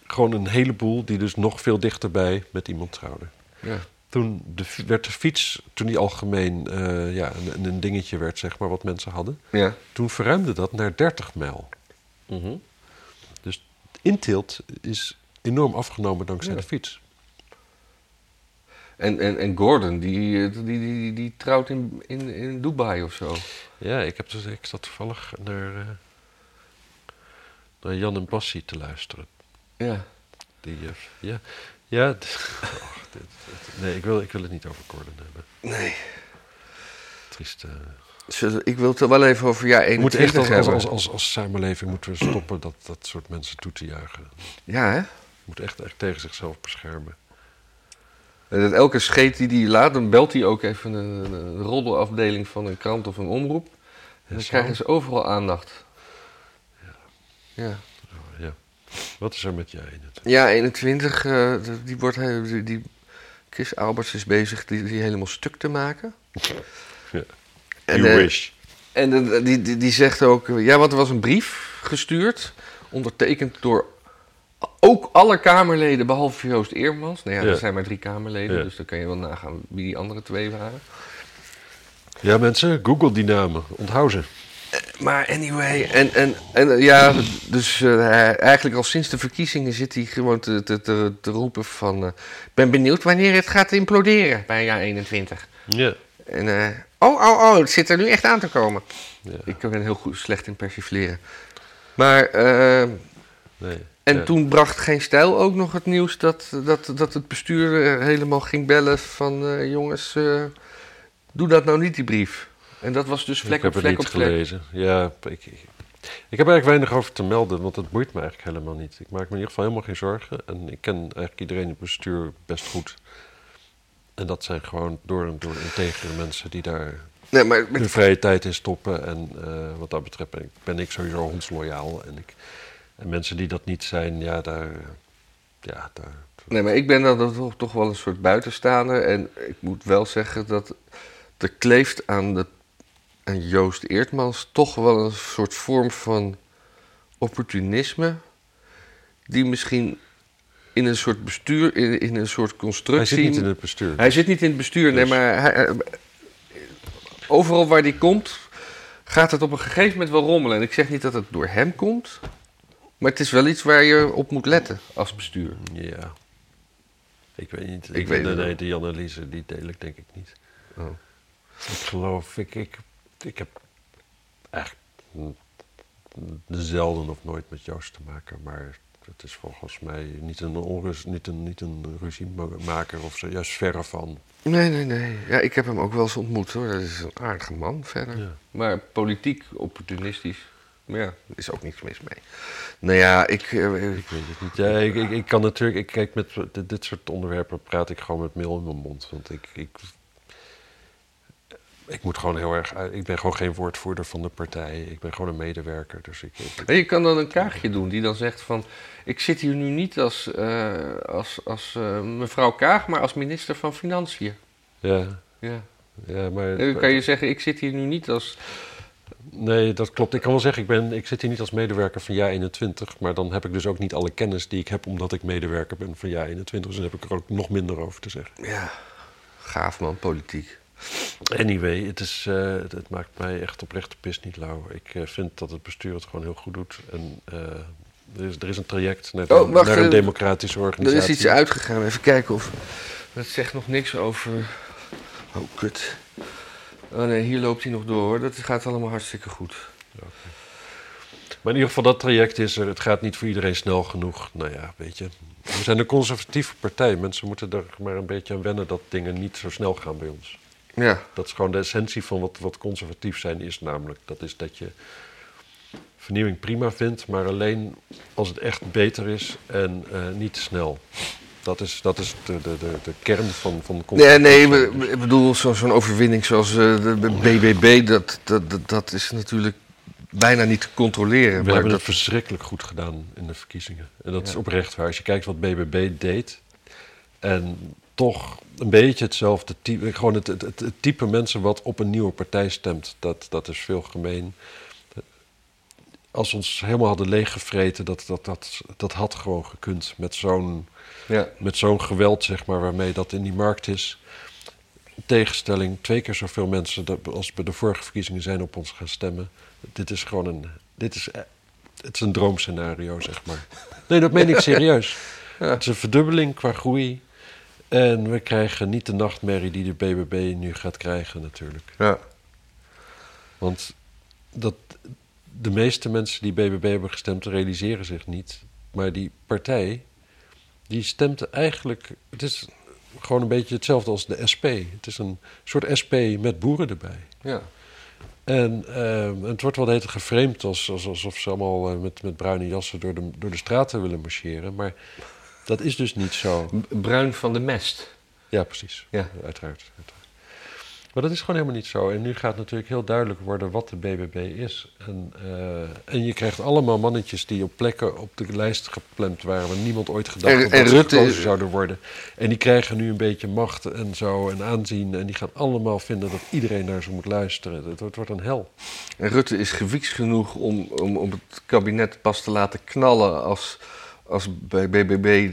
Speaker 2: gewoon een heleboel die dus nog veel dichterbij met iemand trouwden.
Speaker 1: Ja.
Speaker 2: Toen de, fi- werd de fiets, toen die algemeen eh, ja, een, een dingetje werd, zeg maar, wat mensen hadden.
Speaker 1: Ja.
Speaker 2: Toen verruimde dat naar 30 mijl. Mhm. Dus inteelt is enorm afgenomen dankzij
Speaker 1: Ja.
Speaker 2: de fiets.
Speaker 1: En, en, en Gordon, die, eh, die, die, die, die trouwt in, in, in Dubai of zo.
Speaker 2: Ja, ik, heb dus, ik zat toevallig naar, eh, naar Jan en Bassie te luisteren.
Speaker 1: Ja.
Speaker 2: Die, eh, ja, ja d- och, dit- dit- nee, ik wil, ik wil het niet over Gordon hebben.
Speaker 1: Nee.
Speaker 2: Triest. eh.
Speaker 1: Zullen- Ik wil het er wel even over jaar
Speaker 2: we moeten echt
Speaker 1: 21
Speaker 2: als, als,
Speaker 1: hebben.
Speaker 2: als, als, als samenleving moeten we stoppen dat, dat soort mensen toe te jagen.
Speaker 1: Ja, hè?
Speaker 2: We moeten echt, echt tegen zichzelf beschermen.
Speaker 1: En dat elke scheet die die laat, dan belt hij ook even een, een- een roddelafdeling van een krant of een omroep. En dan
Speaker 2: zo.
Speaker 1: krijgen ze overal aandacht. Ja.
Speaker 2: Oh, ja. Wat is er met jij in het?
Speaker 1: Ja, 21, eh, d- die wordt hij, die, die Chris Alberts is bezig die, die helemaal stuk te maken.
Speaker 2: Ja.
Speaker 1: En,
Speaker 2: You
Speaker 1: eh,
Speaker 2: wish.
Speaker 1: En eh, die, die, die zegt ook, eh, ja, want er was een brief gestuurd, ondertekend door ook alle Kamerleden, behalve Joost Eermans. Nou ja,
Speaker 2: Ja.
Speaker 1: er zijn maar drie Kamerleden,
Speaker 2: Ja.
Speaker 1: dus dan kan je wel nagaan wie die andere twee waren.
Speaker 2: Ja, mensen, google die namen. Onthoud ze.
Speaker 1: Maar anyway, en, en, en eh, ja, dus eh, hij- eigenlijk al sinds de verkiezingen zit hij gewoon te, te, te, te roepen van... eh, Ik ben benieuwd wanneer het gaat imploderen bij jaar 21.
Speaker 2: Ja.
Speaker 1: En eh, oh, oh, oh, het zit er nu echt aan te komen.
Speaker 2: ja.
Speaker 1: Ik ben heel goed, slecht in persifleren. Maar, eh,
Speaker 2: Nee.
Speaker 1: en
Speaker 2: Ja.
Speaker 1: toen bracht Geen Stijl ook nog het nieuws dat, dat, dat het bestuur eh, helemaal ging bellen van... eh, jongens, eh, doe dat nou niet, die brief. En dat was dus vlek
Speaker 2: ik heb
Speaker 1: op
Speaker 2: het
Speaker 1: vlek
Speaker 2: niet
Speaker 1: op vlek.
Speaker 2: gelezen. Ja, ik, ik, ik heb eigenlijk weinig over te melden, want het boeit me eigenlijk helemaal niet. Ik maak me in ieder geval helemaal geen zorgen. En ik ken eigenlijk iedereen in het bestuur best goed. En dat zijn gewoon door en door integere mensen die daar
Speaker 1: Nee, maar met
Speaker 2: hun vrije tijd in stoppen. En eh, wat dat betreft ben ik, ben ik sowieso hondsloyaal. En, ik, en mensen die dat niet zijn, ja, daar... eh, Ja, daar
Speaker 1: Nee, maar ik ben dan toch, toch wel een soort buitenstaander. En ik moet wel zeggen dat er kleeft aan, de, aan Joost Eertmans toch wel een soort vorm van opportunisme. Die misschien in een soort bestuur, in, in een soort constructie.
Speaker 2: hij zit niet in het bestuur.
Speaker 1: Hij zit niet in het bestuur, nee,
Speaker 2: Dus-
Speaker 1: maar hij, eh, overal waar hij komt, gaat het op een gegeven moment wel rommelen. En ik zeg niet dat het door hem komt, maar het is wel iets waar je op moet letten als bestuur.
Speaker 2: Ja. Ik weet
Speaker 1: Ik
Speaker 2: niet. Ik
Speaker 1: weet
Speaker 2: weet
Speaker 1: het
Speaker 2: nee,
Speaker 1: wel.
Speaker 2: die analyse die deel ik denk ik niet.
Speaker 1: Oh.
Speaker 2: Ik geloof, ik, ik, ik heb eigenlijk zelden of nooit met Joost te maken. Maar het is volgens mij niet een, onrust, niet een, niet een ruziemaker of zo. Juist verre van.
Speaker 1: Nee, nee, nee. Ja, ik heb hem ook wel eens ontmoet hoor. Dat is een aardige man verder.
Speaker 2: Ja.
Speaker 1: Maar politiek opportunistisch. Maar ja, er is ook niks mis mee. Nou ja, ik. eh,
Speaker 2: Ik weet het niet. Ja, ik, ik, ik kan natuurlijk. Ik kijk met dit, dit soort onderwerpen praat ik gewoon met meel in mijn mond. Want ik. ik ik moet gewoon heel erg. uit- Ik ben gewoon geen woordvoerder van de partij. Ik ben gewoon een medewerker. Dus ik, ik-
Speaker 1: En je kan dan een kaagje doen die dan zegt van... ik zit hier nu niet als, eh, als, als eh, mevrouw Kaag, maar als minister van Financiën.
Speaker 2: ja,
Speaker 1: Ja.
Speaker 2: ja, maar.
Speaker 1: En dan kan je zeggen, ik zit hier nu niet als...
Speaker 2: Nee, dat klopt. Ik kan wel zeggen, ik, ben, ik zit hier niet als medewerker van jaar 21. Maar dan heb ik dus ook niet alle kennis die ik heb, omdat ik medewerker ben van jaar 21. Dus dan heb ik er ook nog minder over te zeggen.
Speaker 1: Ja, gaaf man, politiek.
Speaker 2: Anyway, het, is, eh, het, het maakt mij echt oprecht de pis niet lauw. Ik eh, vind dat het bestuur het gewoon heel goed doet. En eh, er, is, er is een traject naar, de-
Speaker 1: Oh, wacht,
Speaker 2: naar een
Speaker 1: eh,
Speaker 2: democratische
Speaker 1: Er
Speaker 2: organisatie.
Speaker 1: is iets uitgegaan, even kijken of... Dat zegt nog niks over... Oh, kut. Oh nee, hier loopt hij nog door hoor. Dat gaat allemaal hartstikke goed.
Speaker 2: Maar in ieder geval, dat traject is er. Het gaat niet voor iedereen snel genoeg. Nou ja, weet je. We zijn een conservatieve partij. Mensen moeten er maar een beetje aan wennen dat dingen niet zo snel gaan bij ons.
Speaker 1: Ja,
Speaker 2: Dat is gewoon de essentie van wat, wat conservatief zijn is namelijk. Dat is dat je vernieuwing prima vindt, maar alleen als het echt beter is en eh, niet te snel. Dat is, dat is de, de, de, de kern van, van
Speaker 1: Nee,
Speaker 2: conservatief
Speaker 1: nee,
Speaker 2: zijn.
Speaker 1: we- we- ik bedoel, zo- zo'n overwinning zoals eh, de de BBB, dat, dat, dat, dat is natuurlijk bijna niet te controleren.
Speaker 2: We
Speaker 1: Maar
Speaker 2: hebben
Speaker 1: dat,
Speaker 2: het verschrikkelijk goed gedaan in de verkiezingen. En dat is
Speaker 1: Ja.
Speaker 2: oprecht waar. Als je kijkt wat BBB deed. En toch een beetje hetzelfde type. Gewoon het, het, het, het type mensen wat op een nieuwe partij stemt. Dat, dat is veel gemeen. Als we ons helemaal hadden leeggevreten, dat, dat, dat, dat had gewoon gekund. Met zo'n
Speaker 1: ja.
Speaker 2: met zo'n geweld, zeg maar, waarmee dat in die markt is. In Tegenstelling, twee keer zoveel mensen dat- als bij de vorige verkiezingen zijn op ons gaan stemmen. Dit is gewoon een. Dit is, eh, het is een droomscenario, zeg maar. Nee, dat meen ik serieus.
Speaker 1: Ja.
Speaker 2: Het is een verdubbeling qua groei. En we krijgen niet de nachtmerrie die de BBB nu gaat krijgen, natuurlijk.
Speaker 1: Ja.
Speaker 2: Want dat, de meeste mensen die BBB hebben gestemd realiseren zich niet. Maar die partij, die stemt eigenlijk... Het is gewoon een beetje hetzelfde als de SP. Het is een soort SP met boeren erbij.
Speaker 1: ja.
Speaker 2: En ehm, het wordt wel de hele tijd geframed als, als, alsof ze allemaal eh, met, met bruine jassen door de, door de straten willen marcheren. Maar dat is dus niet zo.
Speaker 1: Bruin van de mest.
Speaker 2: Ja, precies.
Speaker 1: Ja.
Speaker 2: Uiteraard, uiteraard. Maar dat is gewoon helemaal niet zo. En nu gaat natuurlijk heel duidelijk worden wat de BBB is. En, eh, en je krijgt allemaal mannetjes die op plekken op de lijst gepland waren... waar niemand ooit gedacht
Speaker 1: En-
Speaker 2: had dat
Speaker 1: en
Speaker 2: ze
Speaker 1: Rutte-
Speaker 2: gekozen zouden worden. En die krijgen nu een beetje macht en zo en aanzien. En die gaan allemaal vinden dat iedereen naar ze moet luisteren. Het wordt, wordt een hel.
Speaker 1: En Rutte is gewieks genoeg om, om, om het kabinet pas te laten knallen als, als bij BBB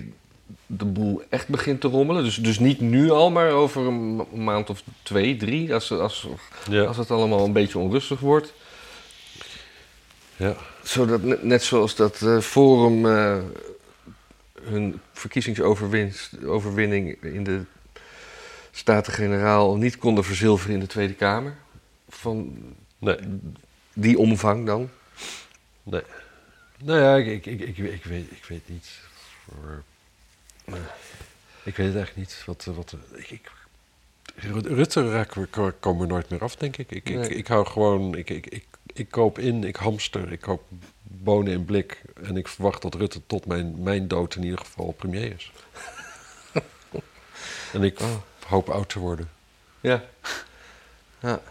Speaker 1: de boel echt begint te rommelen. Dus, dus niet nu al, maar over een ma- maand of twee, drie, als, als,
Speaker 2: Ja.
Speaker 1: als het allemaal een beetje onrustig wordt.
Speaker 2: ja.
Speaker 1: Zodat, ne- net zoals dat eh, Forum eh, hun verkiezingsoverwinning in de Staten-Generaal niet konden verzilveren in de Tweede Kamer. Van
Speaker 2: Nee.
Speaker 1: die omvang dan.
Speaker 2: Nee. Nou ja, ik, ik, ik, ik, ik weet, ik weet niet. Voor- Ik weet eigenlijk niet wat. eh, wat eh, ik, ik, Ru- Rutte raken we, ko- komen we nooit meer af, denk ik. Ik,
Speaker 1: Nee.
Speaker 2: ik, ik hou gewoon. Ik, ik, ik, ik koop in, ik hamster, ik koop bonen in blik. En ik verwacht dat Rutte tot mijn, mijn dood in ieder geval premier is. en ik
Speaker 1: Oh.
Speaker 2: hoop oud te worden.
Speaker 1: Ja. ja.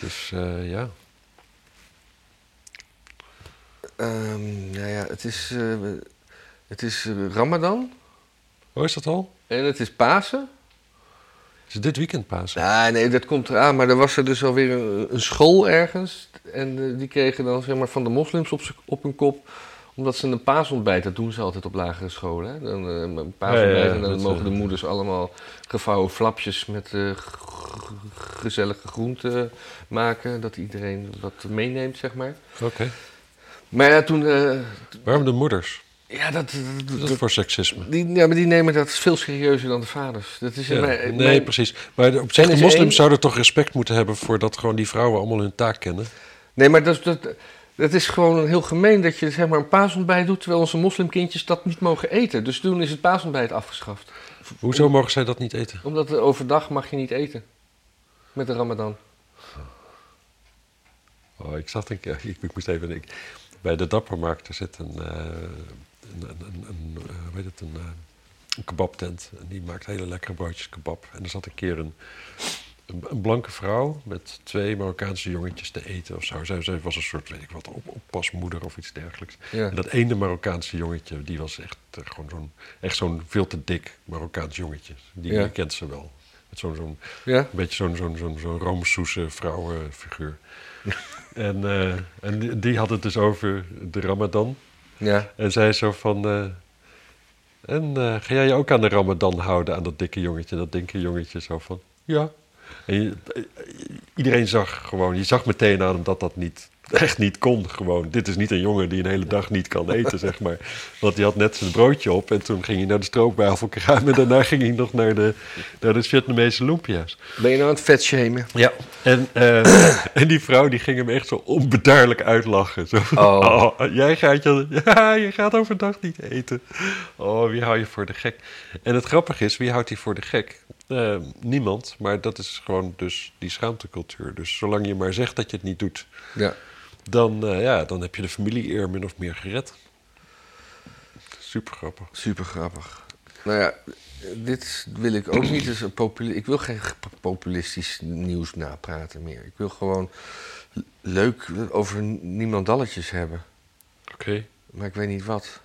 Speaker 2: Dus eh, ja.
Speaker 1: Ehm, nou ja, het is, eh, het is eh, Ramadan
Speaker 2: Oh, is dat al?
Speaker 1: en het is Pasen.
Speaker 2: Is het dit weekend Pasen?
Speaker 1: Nou, nee, dat komt eraan. Maar er was er dus alweer een, een school ergens. En eh, die kregen dan zeg maar, van de moslims op, z'n- op hun kop. Omdat ze een paasontbijt, dat doen ze altijd op lagere scholen. Hè? Dan, eh, een paasontbijt
Speaker 2: Ja, ja, ja,
Speaker 1: en dan
Speaker 2: dat,
Speaker 1: mogen de
Speaker 2: eh,
Speaker 1: moeders allemaal gevouwen flapjes met eh, g- g- gezellige groenten maken. Dat iedereen wat meeneemt, zeg maar.
Speaker 2: Oké.
Speaker 1: Maar ja, toen... eh, t-
Speaker 2: Waarom de moeders?
Speaker 1: ja, dat,
Speaker 2: Wat
Speaker 1: dat,
Speaker 2: is dat voor seksisme?
Speaker 1: die, ja, maar die nemen dat veel serieuzer dan de vaders. Dat is in
Speaker 2: Ja,
Speaker 1: mijn-
Speaker 2: nee,
Speaker 1: mijn-
Speaker 2: precies. Maar op zich,
Speaker 1: Er
Speaker 2: de
Speaker 1: is
Speaker 2: moslims
Speaker 1: één-
Speaker 2: zouden toch respect moeten hebben voor dat gewoon die vrouwen allemaal hun taak kennen.
Speaker 1: Nee, maar dat, is- dat, Het is gewoon heel gemeen dat je zeg maar, een paasontbijt doet... terwijl onze moslimkindjes dat niet mogen eten. Dus toen is het paasontbijt afgeschaft.
Speaker 2: Hoezo mogen zij dat niet eten?
Speaker 1: Omdat er overdag mag je niet eten. Met de ramadan.
Speaker 2: Oh, ik zat een keer, ik, ik moest even, ik, bij de Dappermarkt, er zit een, eh, een, een, een, een, eh, hoe heet het, een, eh, een kebabtent. En die maakt hele lekkere broodjes kebab. En er zat een keer een, een, een blanke vrouw met twee Marokkaanse jongetjes te eten of zo. Zij, zij was een soort, weet ik wat, op, oppasmoeder of iets dergelijks.
Speaker 1: Ja.
Speaker 2: En dat ene Marokkaanse jongetje, die was echt eh, gewoon zo'n, echt zo'n veel te dik Marokkaans jongetje. Die,
Speaker 1: Ja.
Speaker 2: die kent ze wel. Met zo'n, zo'n
Speaker 1: Ja?
Speaker 2: een beetje zo'n zo'n zo'n zo'n roomsoese vrouwenfiguur. en, eh, en die- die had het dus over de Ramadan.
Speaker 1: Ja.
Speaker 2: En zei zo van. eh, en eh, ga jij je ook aan de Ramadan houden, aan dat dikke jongetje, dat dikke jongetje? Zo van. Ja. En je- eh, iedereen zag gewoon, je zag meteen aan hem dat dat niet, echt niet kon. Gewoon. Dit is niet een jongen die een hele dag niet kan eten, zeg maar. Want die had net zijn broodje op en toen ging hij naar de stroopwafel en daarna ging hij nog naar de, naar de Vietnamese lumpia's.
Speaker 1: Ben je nou aan het vet shamen?
Speaker 2: Ja, en, eh, en die vrouw die ging hem echt zo onbedaarlijk uitlachen. Zo, van,
Speaker 1: Oh.
Speaker 2: oh, jij gaat je, ja, je gaat overdag niet eten. Oh, wie hou je voor de gek? En het grappige is, wie houdt die voor de gek? Eh, niemand, maar dat is gewoon dus die schaamtecultuur. Dus zolang je maar zegt dat je het niet doet,
Speaker 1: Ja.
Speaker 2: dan, eh, ja, dan heb je de familie eer min of meer gered. Super grappig.
Speaker 1: Super grappig. Nou ja, dit wil ik ook niet. Dus een populi- ik wil geen g- populistisch nieuws napraten meer. Ik wil gewoon l- leuk over niemandalletjes hebben.
Speaker 2: Oké.
Speaker 1: Maar ik weet niet wat.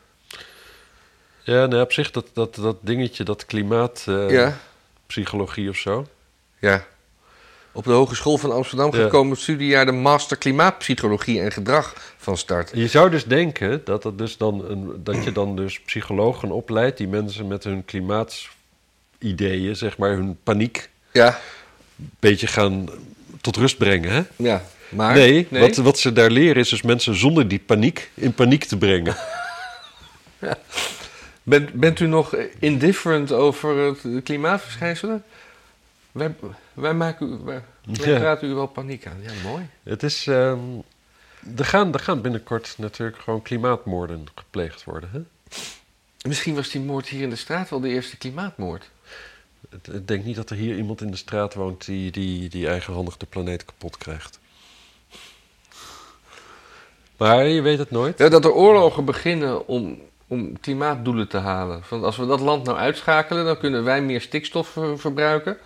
Speaker 2: Ja, nou, op zich dat, dat, dat dingetje, dat klimaatpsychologie eh,
Speaker 1: ja,
Speaker 2: psychologie of zo.
Speaker 1: ja. Op de Hogeschool van Amsterdam
Speaker 2: Ja.
Speaker 1: gekomen het studiejaar de Master Klimaatpsychologie en Gedrag van start.
Speaker 2: Je zou dus denken dat, dat, dus dan een, dat je dan dus psychologen opleidt die mensen met hun klimaatideeën, zeg maar hun paniek,
Speaker 1: Ja,
Speaker 2: een beetje gaan tot rust brengen. Hè?
Speaker 1: ja. Maar,
Speaker 2: nee, Wat, wat ze daar leren is dus mensen zonder die paniek in paniek te brengen.
Speaker 1: Bent, bent u nog indifferent over het de klimaatverschijnselen? Wij, wij, maken, u- wij, wij
Speaker 2: Ja.
Speaker 1: praten u wel paniek aan. Ja, mooi.
Speaker 2: Het is. ehm, er, gaan, er gaan binnenkort natuurlijk gewoon klimaatmoorden gepleegd worden. Hè?
Speaker 1: Misschien was die moord hier in de straat wel de eerste klimaatmoord.
Speaker 2: Het- Ik denk niet dat er hier iemand in de straat woont die, die, die eigenhandig de planeet kapot krijgt. Maar je weet het nooit.
Speaker 1: Ja, dat er oorlogen beginnen om, om klimaatdoelen te halen. Want als we dat land nou uitschakelen, dan kunnen wij meer stikstof ver- verbruiken.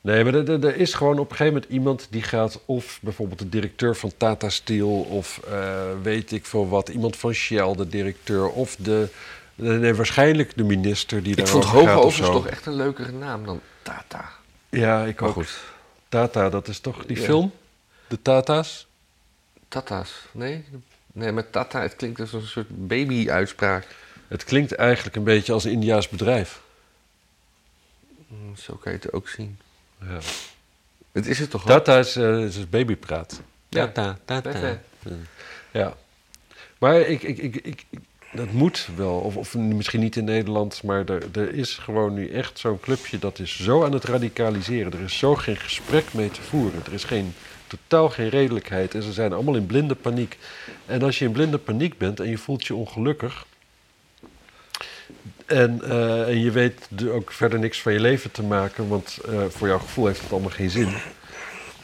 Speaker 2: Nee, maar er- er er is gewoon op een gegeven moment iemand die gaat... of bijvoorbeeld de directeur van Tata Steel... of eh, weet ik veel wat, iemand van Shell, de directeur... of de, nee, nee, waarschijnlijk de minister die
Speaker 1: Ik
Speaker 2: daar
Speaker 1: vond
Speaker 2: over
Speaker 1: Hoge
Speaker 2: gaat of
Speaker 1: overigens
Speaker 2: zo.
Speaker 1: toch echt een leukere naam dan Tata.
Speaker 2: Ja, ik
Speaker 1: Maar
Speaker 2: ook.
Speaker 1: goed,
Speaker 2: Tata, dat is toch die
Speaker 1: Ja.
Speaker 2: film? De Tata's?
Speaker 1: Tata's. Nee? Nee, maar Tata, het klinkt als een soort baby-uitspraak.
Speaker 2: Het klinkt eigenlijk een beetje als een Indiaas bedrijf.
Speaker 1: Hm, Zo kan je het ook zien.
Speaker 2: Ja.
Speaker 1: Het is het toch ook?
Speaker 2: Tata is, eh, is babypraat.
Speaker 1: Ja.
Speaker 2: Tata,
Speaker 1: Tata.
Speaker 2: Ja. Maar ik, ik, ik, ik, ik- dat moet wel. Of, of misschien niet in Nederland, maar er, er is gewoon nu echt zo'n clubje dat is zo aan het radicaliseren. Er is zo geen gesprek mee te voeren. Er is geen, totaal geen redelijkheid. En ze zijn allemaal in blinde paniek. En als je in blinde paniek bent en je voelt je ongelukkig. En, eh, en je weet er ook verder niks van je leven te maken, want eh, voor jouw gevoel heeft het allemaal geen zin.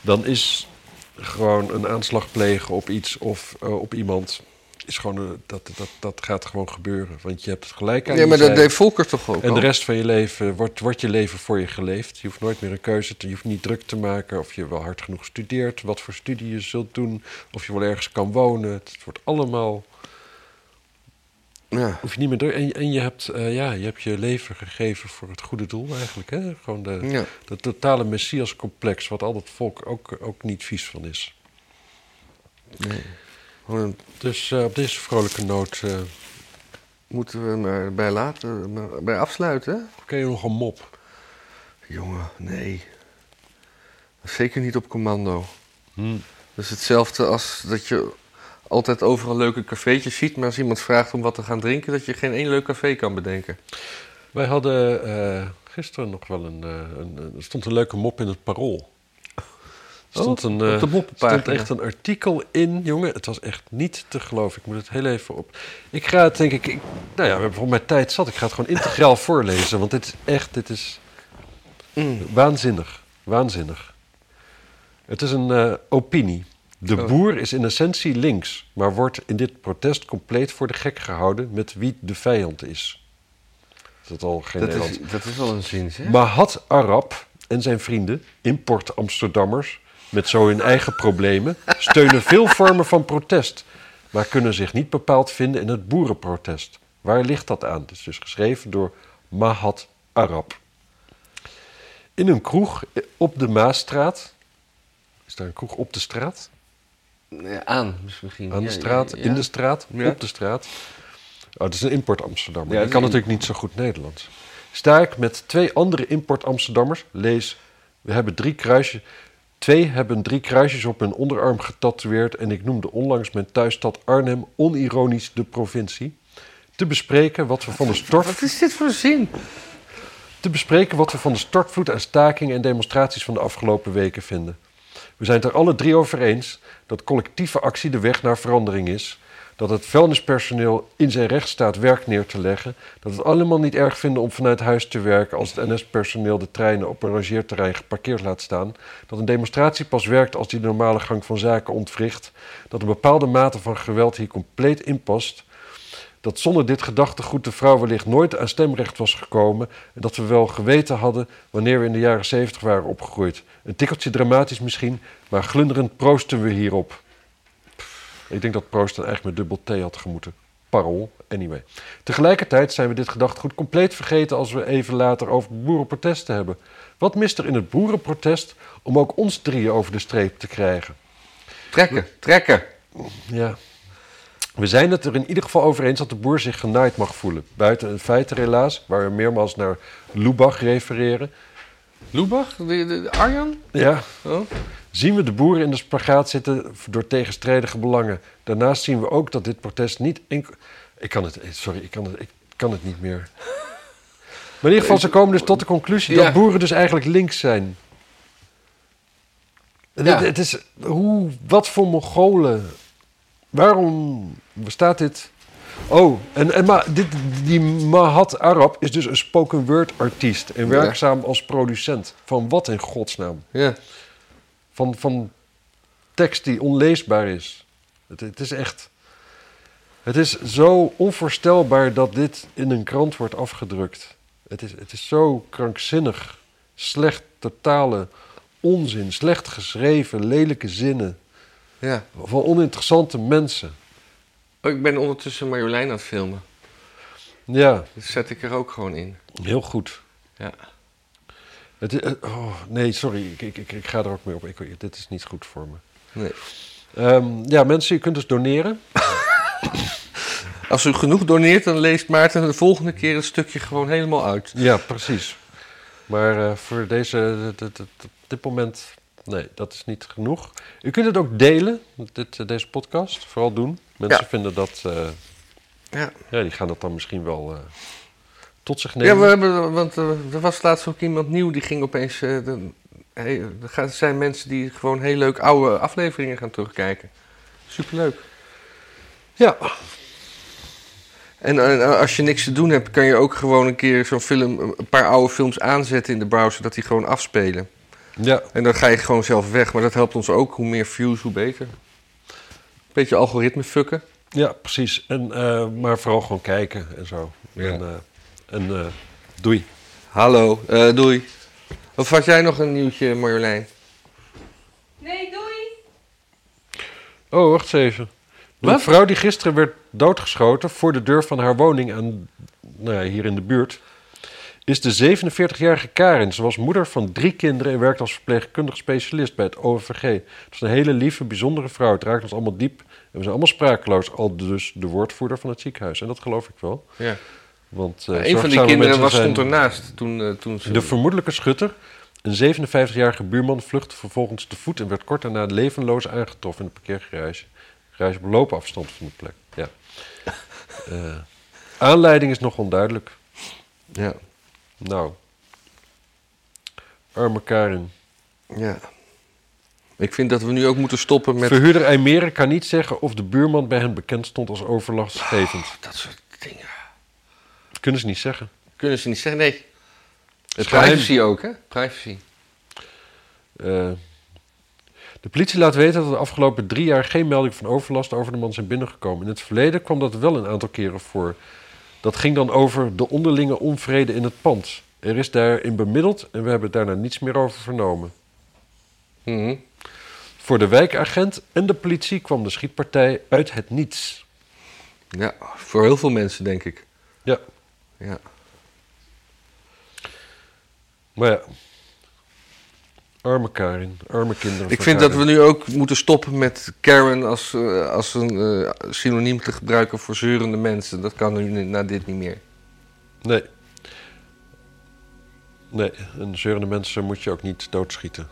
Speaker 2: Dan is gewoon een aanslag plegen op iets of eh, op iemand. Is gewoon, eh, dat, dat, dat gaat gewoon gebeuren. Want je hebt het gelijk aan
Speaker 1: Ja,
Speaker 2: je
Speaker 1: maar dat
Speaker 2: zijde.
Speaker 1: deed Volker toch ook
Speaker 2: En de
Speaker 1: al?
Speaker 2: rest van je leven wordt, wordt je leven voor je geleefd. Je hoeft nooit meer een keuze te Je hoeft niet druk te maken of je wel hard genoeg studeert. Wat voor studie je zult doen. Of je wel ergens kan wonen. Het wordt allemaal.
Speaker 1: Ja.
Speaker 2: Hoef je niet meer druk. En, en je, hebt, eh, ja, je hebt je leven gegeven voor het goede doel eigenlijk. Hè? Gewoon de,
Speaker 1: ja.
Speaker 2: dat totale messiascomplex. Wat al dat volk ook, ook niet vies van is.
Speaker 1: Nee. Gewoon een
Speaker 2: Dus eh, op deze vrolijke noot. eh,
Speaker 1: Moeten we maar bij laten, maar bij afsluiten? hè?
Speaker 2: ken je nog een mop?
Speaker 1: Jongen, nee. Zeker niet op commando.
Speaker 2: Hmm.
Speaker 1: Dat is hetzelfde als dat je altijd overal leuke cafeetjes ziet, maar als iemand vraagt om wat te gaan drinken, dat je geen één leuk café kan bedenken.
Speaker 2: Wij hadden eh, gisteren nog wel een, eh, een, een- Er stond een leuke mop in het parool. stond een,
Speaker 1: Oh, op de
Speaker 2: eh,
Speaker 1: moppenpagina.
Speaker 2: stond echt een artikel in, jongen. Het was echt niet te geloven. Ik moet het heel even op. Ik ga het, denk ik... ik- nou ja, we hebben voor mijn tijd zat. Ik ga het gewoon integraal voorlezen. Want dit is echt... Dit is
Speaker 1: Mm.
Speaker 2: waanzinnig. Waanzinnig. Het is een eh, opinie. De
Speaker 1: Oh.
Speaker 2: boer is in essentie links, maar wordt in dit protest compleet voor de gek gehouden met wie de vijand is. Is dat al geen
Speaker 1: Dat
Speaker 2: Nederlands?
Speaker 1: is, dat is wel een zin, hè?
Speaker 2: Mahat Arab en zijn vrienden, import Amsterdammers, met zo hun eigen problemen, steunen veel vormen van protest, maar kunnen zich niet bepaald vinden in het boerenprotest. Waar ligt dat aan? Het is dus geschreven door Mahat Arab. In een kroeg op de Maasstraat. Is daar een kroeg op de straat?
Speaker 1: Nee, aan, dus misschien.
Speaker 2: Aan de
Speaker 1: Ja, ja,
Speaker 2: straat,
Speaker 1: ja.
Speaker 2: in de straat,
Speaker 1: Ja.
Speaker 2: op de straat. Oh, dat is een import Amsterdammer.
Speaker 1: Ja,
Speaker 2: Die
Speaker 1: dat is
Speaker 2: kan
Speaker 1: een-
Speaker 2: natuurlijk niet zo goed Nederlands. Sta ik met twee andere import Amsterdammers, lees, we hebben drie kruisjes. Twee hebben drie kruisjes op hun onderarm getatoeëerd en ik noemde onlangs mijn thuisstad Arnhem onironisch de provincie. Te bespreken wat we van de storf
Speaker 1: Wat is dit voor zin?
Speaker 2: te bespreken wat we van de stortvloed aan stakingen en demonstraties van de afgelopen weken vinden. We zijn het er alle drie over eens dat collectieve actie de weg naar verandering is. Dat het vuilnispersoneel in zijn recht staat werk neer te leggen. Dat we het allemaal niet erg vinden om vanuit huis te werken als het NS-personeel de treinen op een rangeerterrein geparkeerd laat staan. Dat een demonstratie pas werkt als die de normale gang van zaken ontwricht. Dat een bepaalde mate van geweld hier compleet in past dat zonder dit gedachtegoed de vrouw wellicht nooit aan stemrecht was gekomen en dat we wel geweten hadden wanneer we in de jaren zeventig waren opgegroeid. Een tikkeltje dramatisch misschien, maar glunderend proosten we hierop. Ik denk dat proosten eigenlijk met dubbel T had gemoeten. Parool, anyway. Tegelijkertijd zijn we dit gedachtegoed compleet vergeten als we even later over boerenprotesten hebben. Wat mist er in het boerenprotest om ook ons drieën over de streep te krijgen?
Speaker 1: Trekken, trekken.
Speaker 2: Ja. We zijn het er in ieder geval over eens dat de boer zich genaaid mag voelen. Buiten een feit er helaas, waar we meermaals naar Lubach refereren.
Speaker 1: Lubach, de, de, de Arjan?
Speaker 2: Ja,
Speaker 1: Oh.
Speaker 2: zien we de boeren in de spagaat zitten door tegenstrijdige belangen. Daarnaast zien we ook dat dit protest niet... enkel- Ik kan het... eh, Sorry, ik kan het, ik kan het niet meer. Maar in ieder geval, ze komen dus tot de conclusie
Speaker 1: Ja.
Speaker 2: dat boeren dus eigenlijk links zijn. Het-
Speaker 1: Ja.
Speaker 2: Het, het is... Hoe, wat voor Mongolen? Waarom bestaat dit... Oh, en, en maar dit, die Mahat Arab is dus een spoken word artiest en
Speaker 1: Ja.
Speaker 2: werkzaam als producent. Van wat in godsnaam?
Speaker 1: Ja.
Speaker 2: van, van tekst die onleesbaar is. Het, het is echt. Het is zo onvoorstelbaar dat dit in een krant wordt afgedrukt. Het is, het is zo krankzinnig. Slecht, totale onzin. Slecht geschreven, lelijke zinnen.
Speaker 1: ja.
Speaker 2: Van oninteressante mensen.
Speaker 1: Oh, ik ben ondertussen Marjolein aan het filmen.
Speaker 2: Ja,
Speaker 1: Dat zet ik er ook gewoon in.
Speaker 2: heel goed.
Speaker 1: Ja.
Speaker 2: Het, i- eh, oh, nee, sorry. Ik, ik, ik, ik ga er ook mee op. Ik, dit is niet goed voor me.
Speaker 1: Nee.
Speaker 2: Ehm, ja, mensen, je kunt dus doneren.
Speaker 1: Als u genoeg doneert, dan leest Maarten de volgende keer het stukje gewoon helemaal uit.
Speaker 2: Ja, precies. Maar eh, voor deze, eh, d- d- d- op dit moment, nee, dat is niet genoeg. U kunt het ook delen, dit, eh, deze podcast, vooral doen. Mensen
Speaker 1: Ja.
Speaker 2: vinden dat, eh,
Speaker 1: Ja,
Speaker 2: ja, die gaan dat dan misschien wel eh, tot zich
Speaker 1: ja
Speaker 2: nemen.
Speaker 1: we hebben, want eh, er was laatst ook iemand nieuw die ging opeens. eh, de- hey, er gaan- zijn mensen die gewoon heel leuk oude afleveringen gaan terugkijken. Superleuk.
Speaker 2: Ja,
Speaker 1: En eh, als je niks te doen hebt, kan je ook gewoon een keer zo'n film, een paar oude films aanzetten in de browser, dat die gewoon afspelen.
Speaker 2: ja,
Speaker 1: En dan ga je gewoon zelf weg, maar dat helpt ons ook. Hoe meer views, hoe beter. Beetje algoritme fucken.
Speaker 2: ja, precies. En, eh, maar vooral gewoon kijken en zo.
Speaker 1: Ja.
Speaker 2: En, eh, en eh, doei.
Speaker 1: Hallo, eh, doei. Of had jij nog een nieuwtje, Marjolein?
Speaker 3: Nee, doei!
Speaker 2: Oh, wacht eens even. De
Speaker 1: Wat?
Speaker 2: vrouw die gisteren werd doodgeschoten voor de deur van haar woning aan, nou ja, hier in de buurt, is de 47-jarige Karin. Ze was moeder van drie kinderen en werkt als verpleegkundig specialist bij het OVG. Het was een hele lieve, bijzondere vrouw. Het raakt ons allemaal diep en we zijn allemaal sprakeloos. Al dus de woordvoerder van het ziekenhuis. En dat geloof ik wel.
Speaker 1: Ja.
Speaker 2: Want, eh,
Speaker 1: een van die
Speaker 2: zorgzame
Speaker 1: kinderen
Speaker 2: mensen
Speaker 1: was,
Speaker 2: zijn-
Speaker 1: stond ernaast toen, eh, toen ze...
Speaker 2: de vermoedelijke schutter, een 57-jarige buurman, vluchtte vervolgens te voet en werd kort daarna levenloos aangetroffen in een parkeergarage. Garage op loopafstand van de plek. Ja. Eh, aanleiding is nog onduidelijk.
Speaker 1: ja.
Speaker 2: Nou. Arme Karin.
Speaker 1: ja. Ik vind dat we nu ook moeten stoppen met
Speaker 2: Verhuurder Eimeren kan niet zeggen of de buurman bij hen bekend stond als overlastgevend.
Speaker 1: dat soort dingen.
Speaker 2: Dat kunnen ze niet zeggen.
Speaker 1: Kunnen ze niet zeggen, nee.
Speaker 2: Het
Speaker 1: Privacy ook, hè? Privacy.
Speaker 2: Eh, de politie laat weten dat de afgelopen drie jaar geen melding van overlast over de man zijn binnengekomen. In het verleden kwam dat wel een aantal keren voor. Dat ging dan over de onderlinge onvrede in het pand. Er is daarin bemiddeld en we hebben daarna niets meer over vernomen.
Speaker 1: Mhm.
Speaker 2: Voor de wijkagent en de politie kwam de schietpartij uit het niets.
Speaker 1: Ja, voor heel veel mensen, denk ik.
Speaker 2: Ja,
Speaker 1: Ja.
Speaker 2: maar ja. Arme Karin, arme kinderen.
Speaker 1: Ik
Speaker 2: van
Speaker 1: vind dat we
Speaker 2: Karin.
Speaker 1: nu ook moeten stoppen met Karen als, eh, als een eh, synoniem te gebruiken voor zeurende mensen. Dat kan nu na dit niet meer.
Speaker 2: Nee. Nee, en zeurende mensen moet je ook niet doodschieten.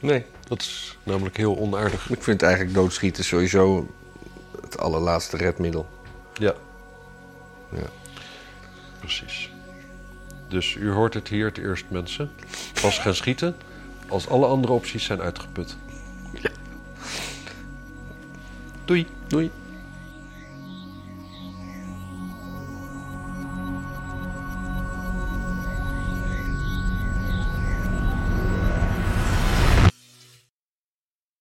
Speaker 1: Nee.
Speaker 2: Dat is namelijk heel onaardig.
Speaker 1: Ik vind eigenlijk doodschieten sowieso het allerlaatste redmiddel.
Speaker 2: Ja.
Speaker 1: Ja.
Speaker 2: Precies. Dus u hoort het hier het eerst, mensen. Pas gaan schieten als alle andere opties zijn uitgeput.
Speaker 1: Doei. Doei.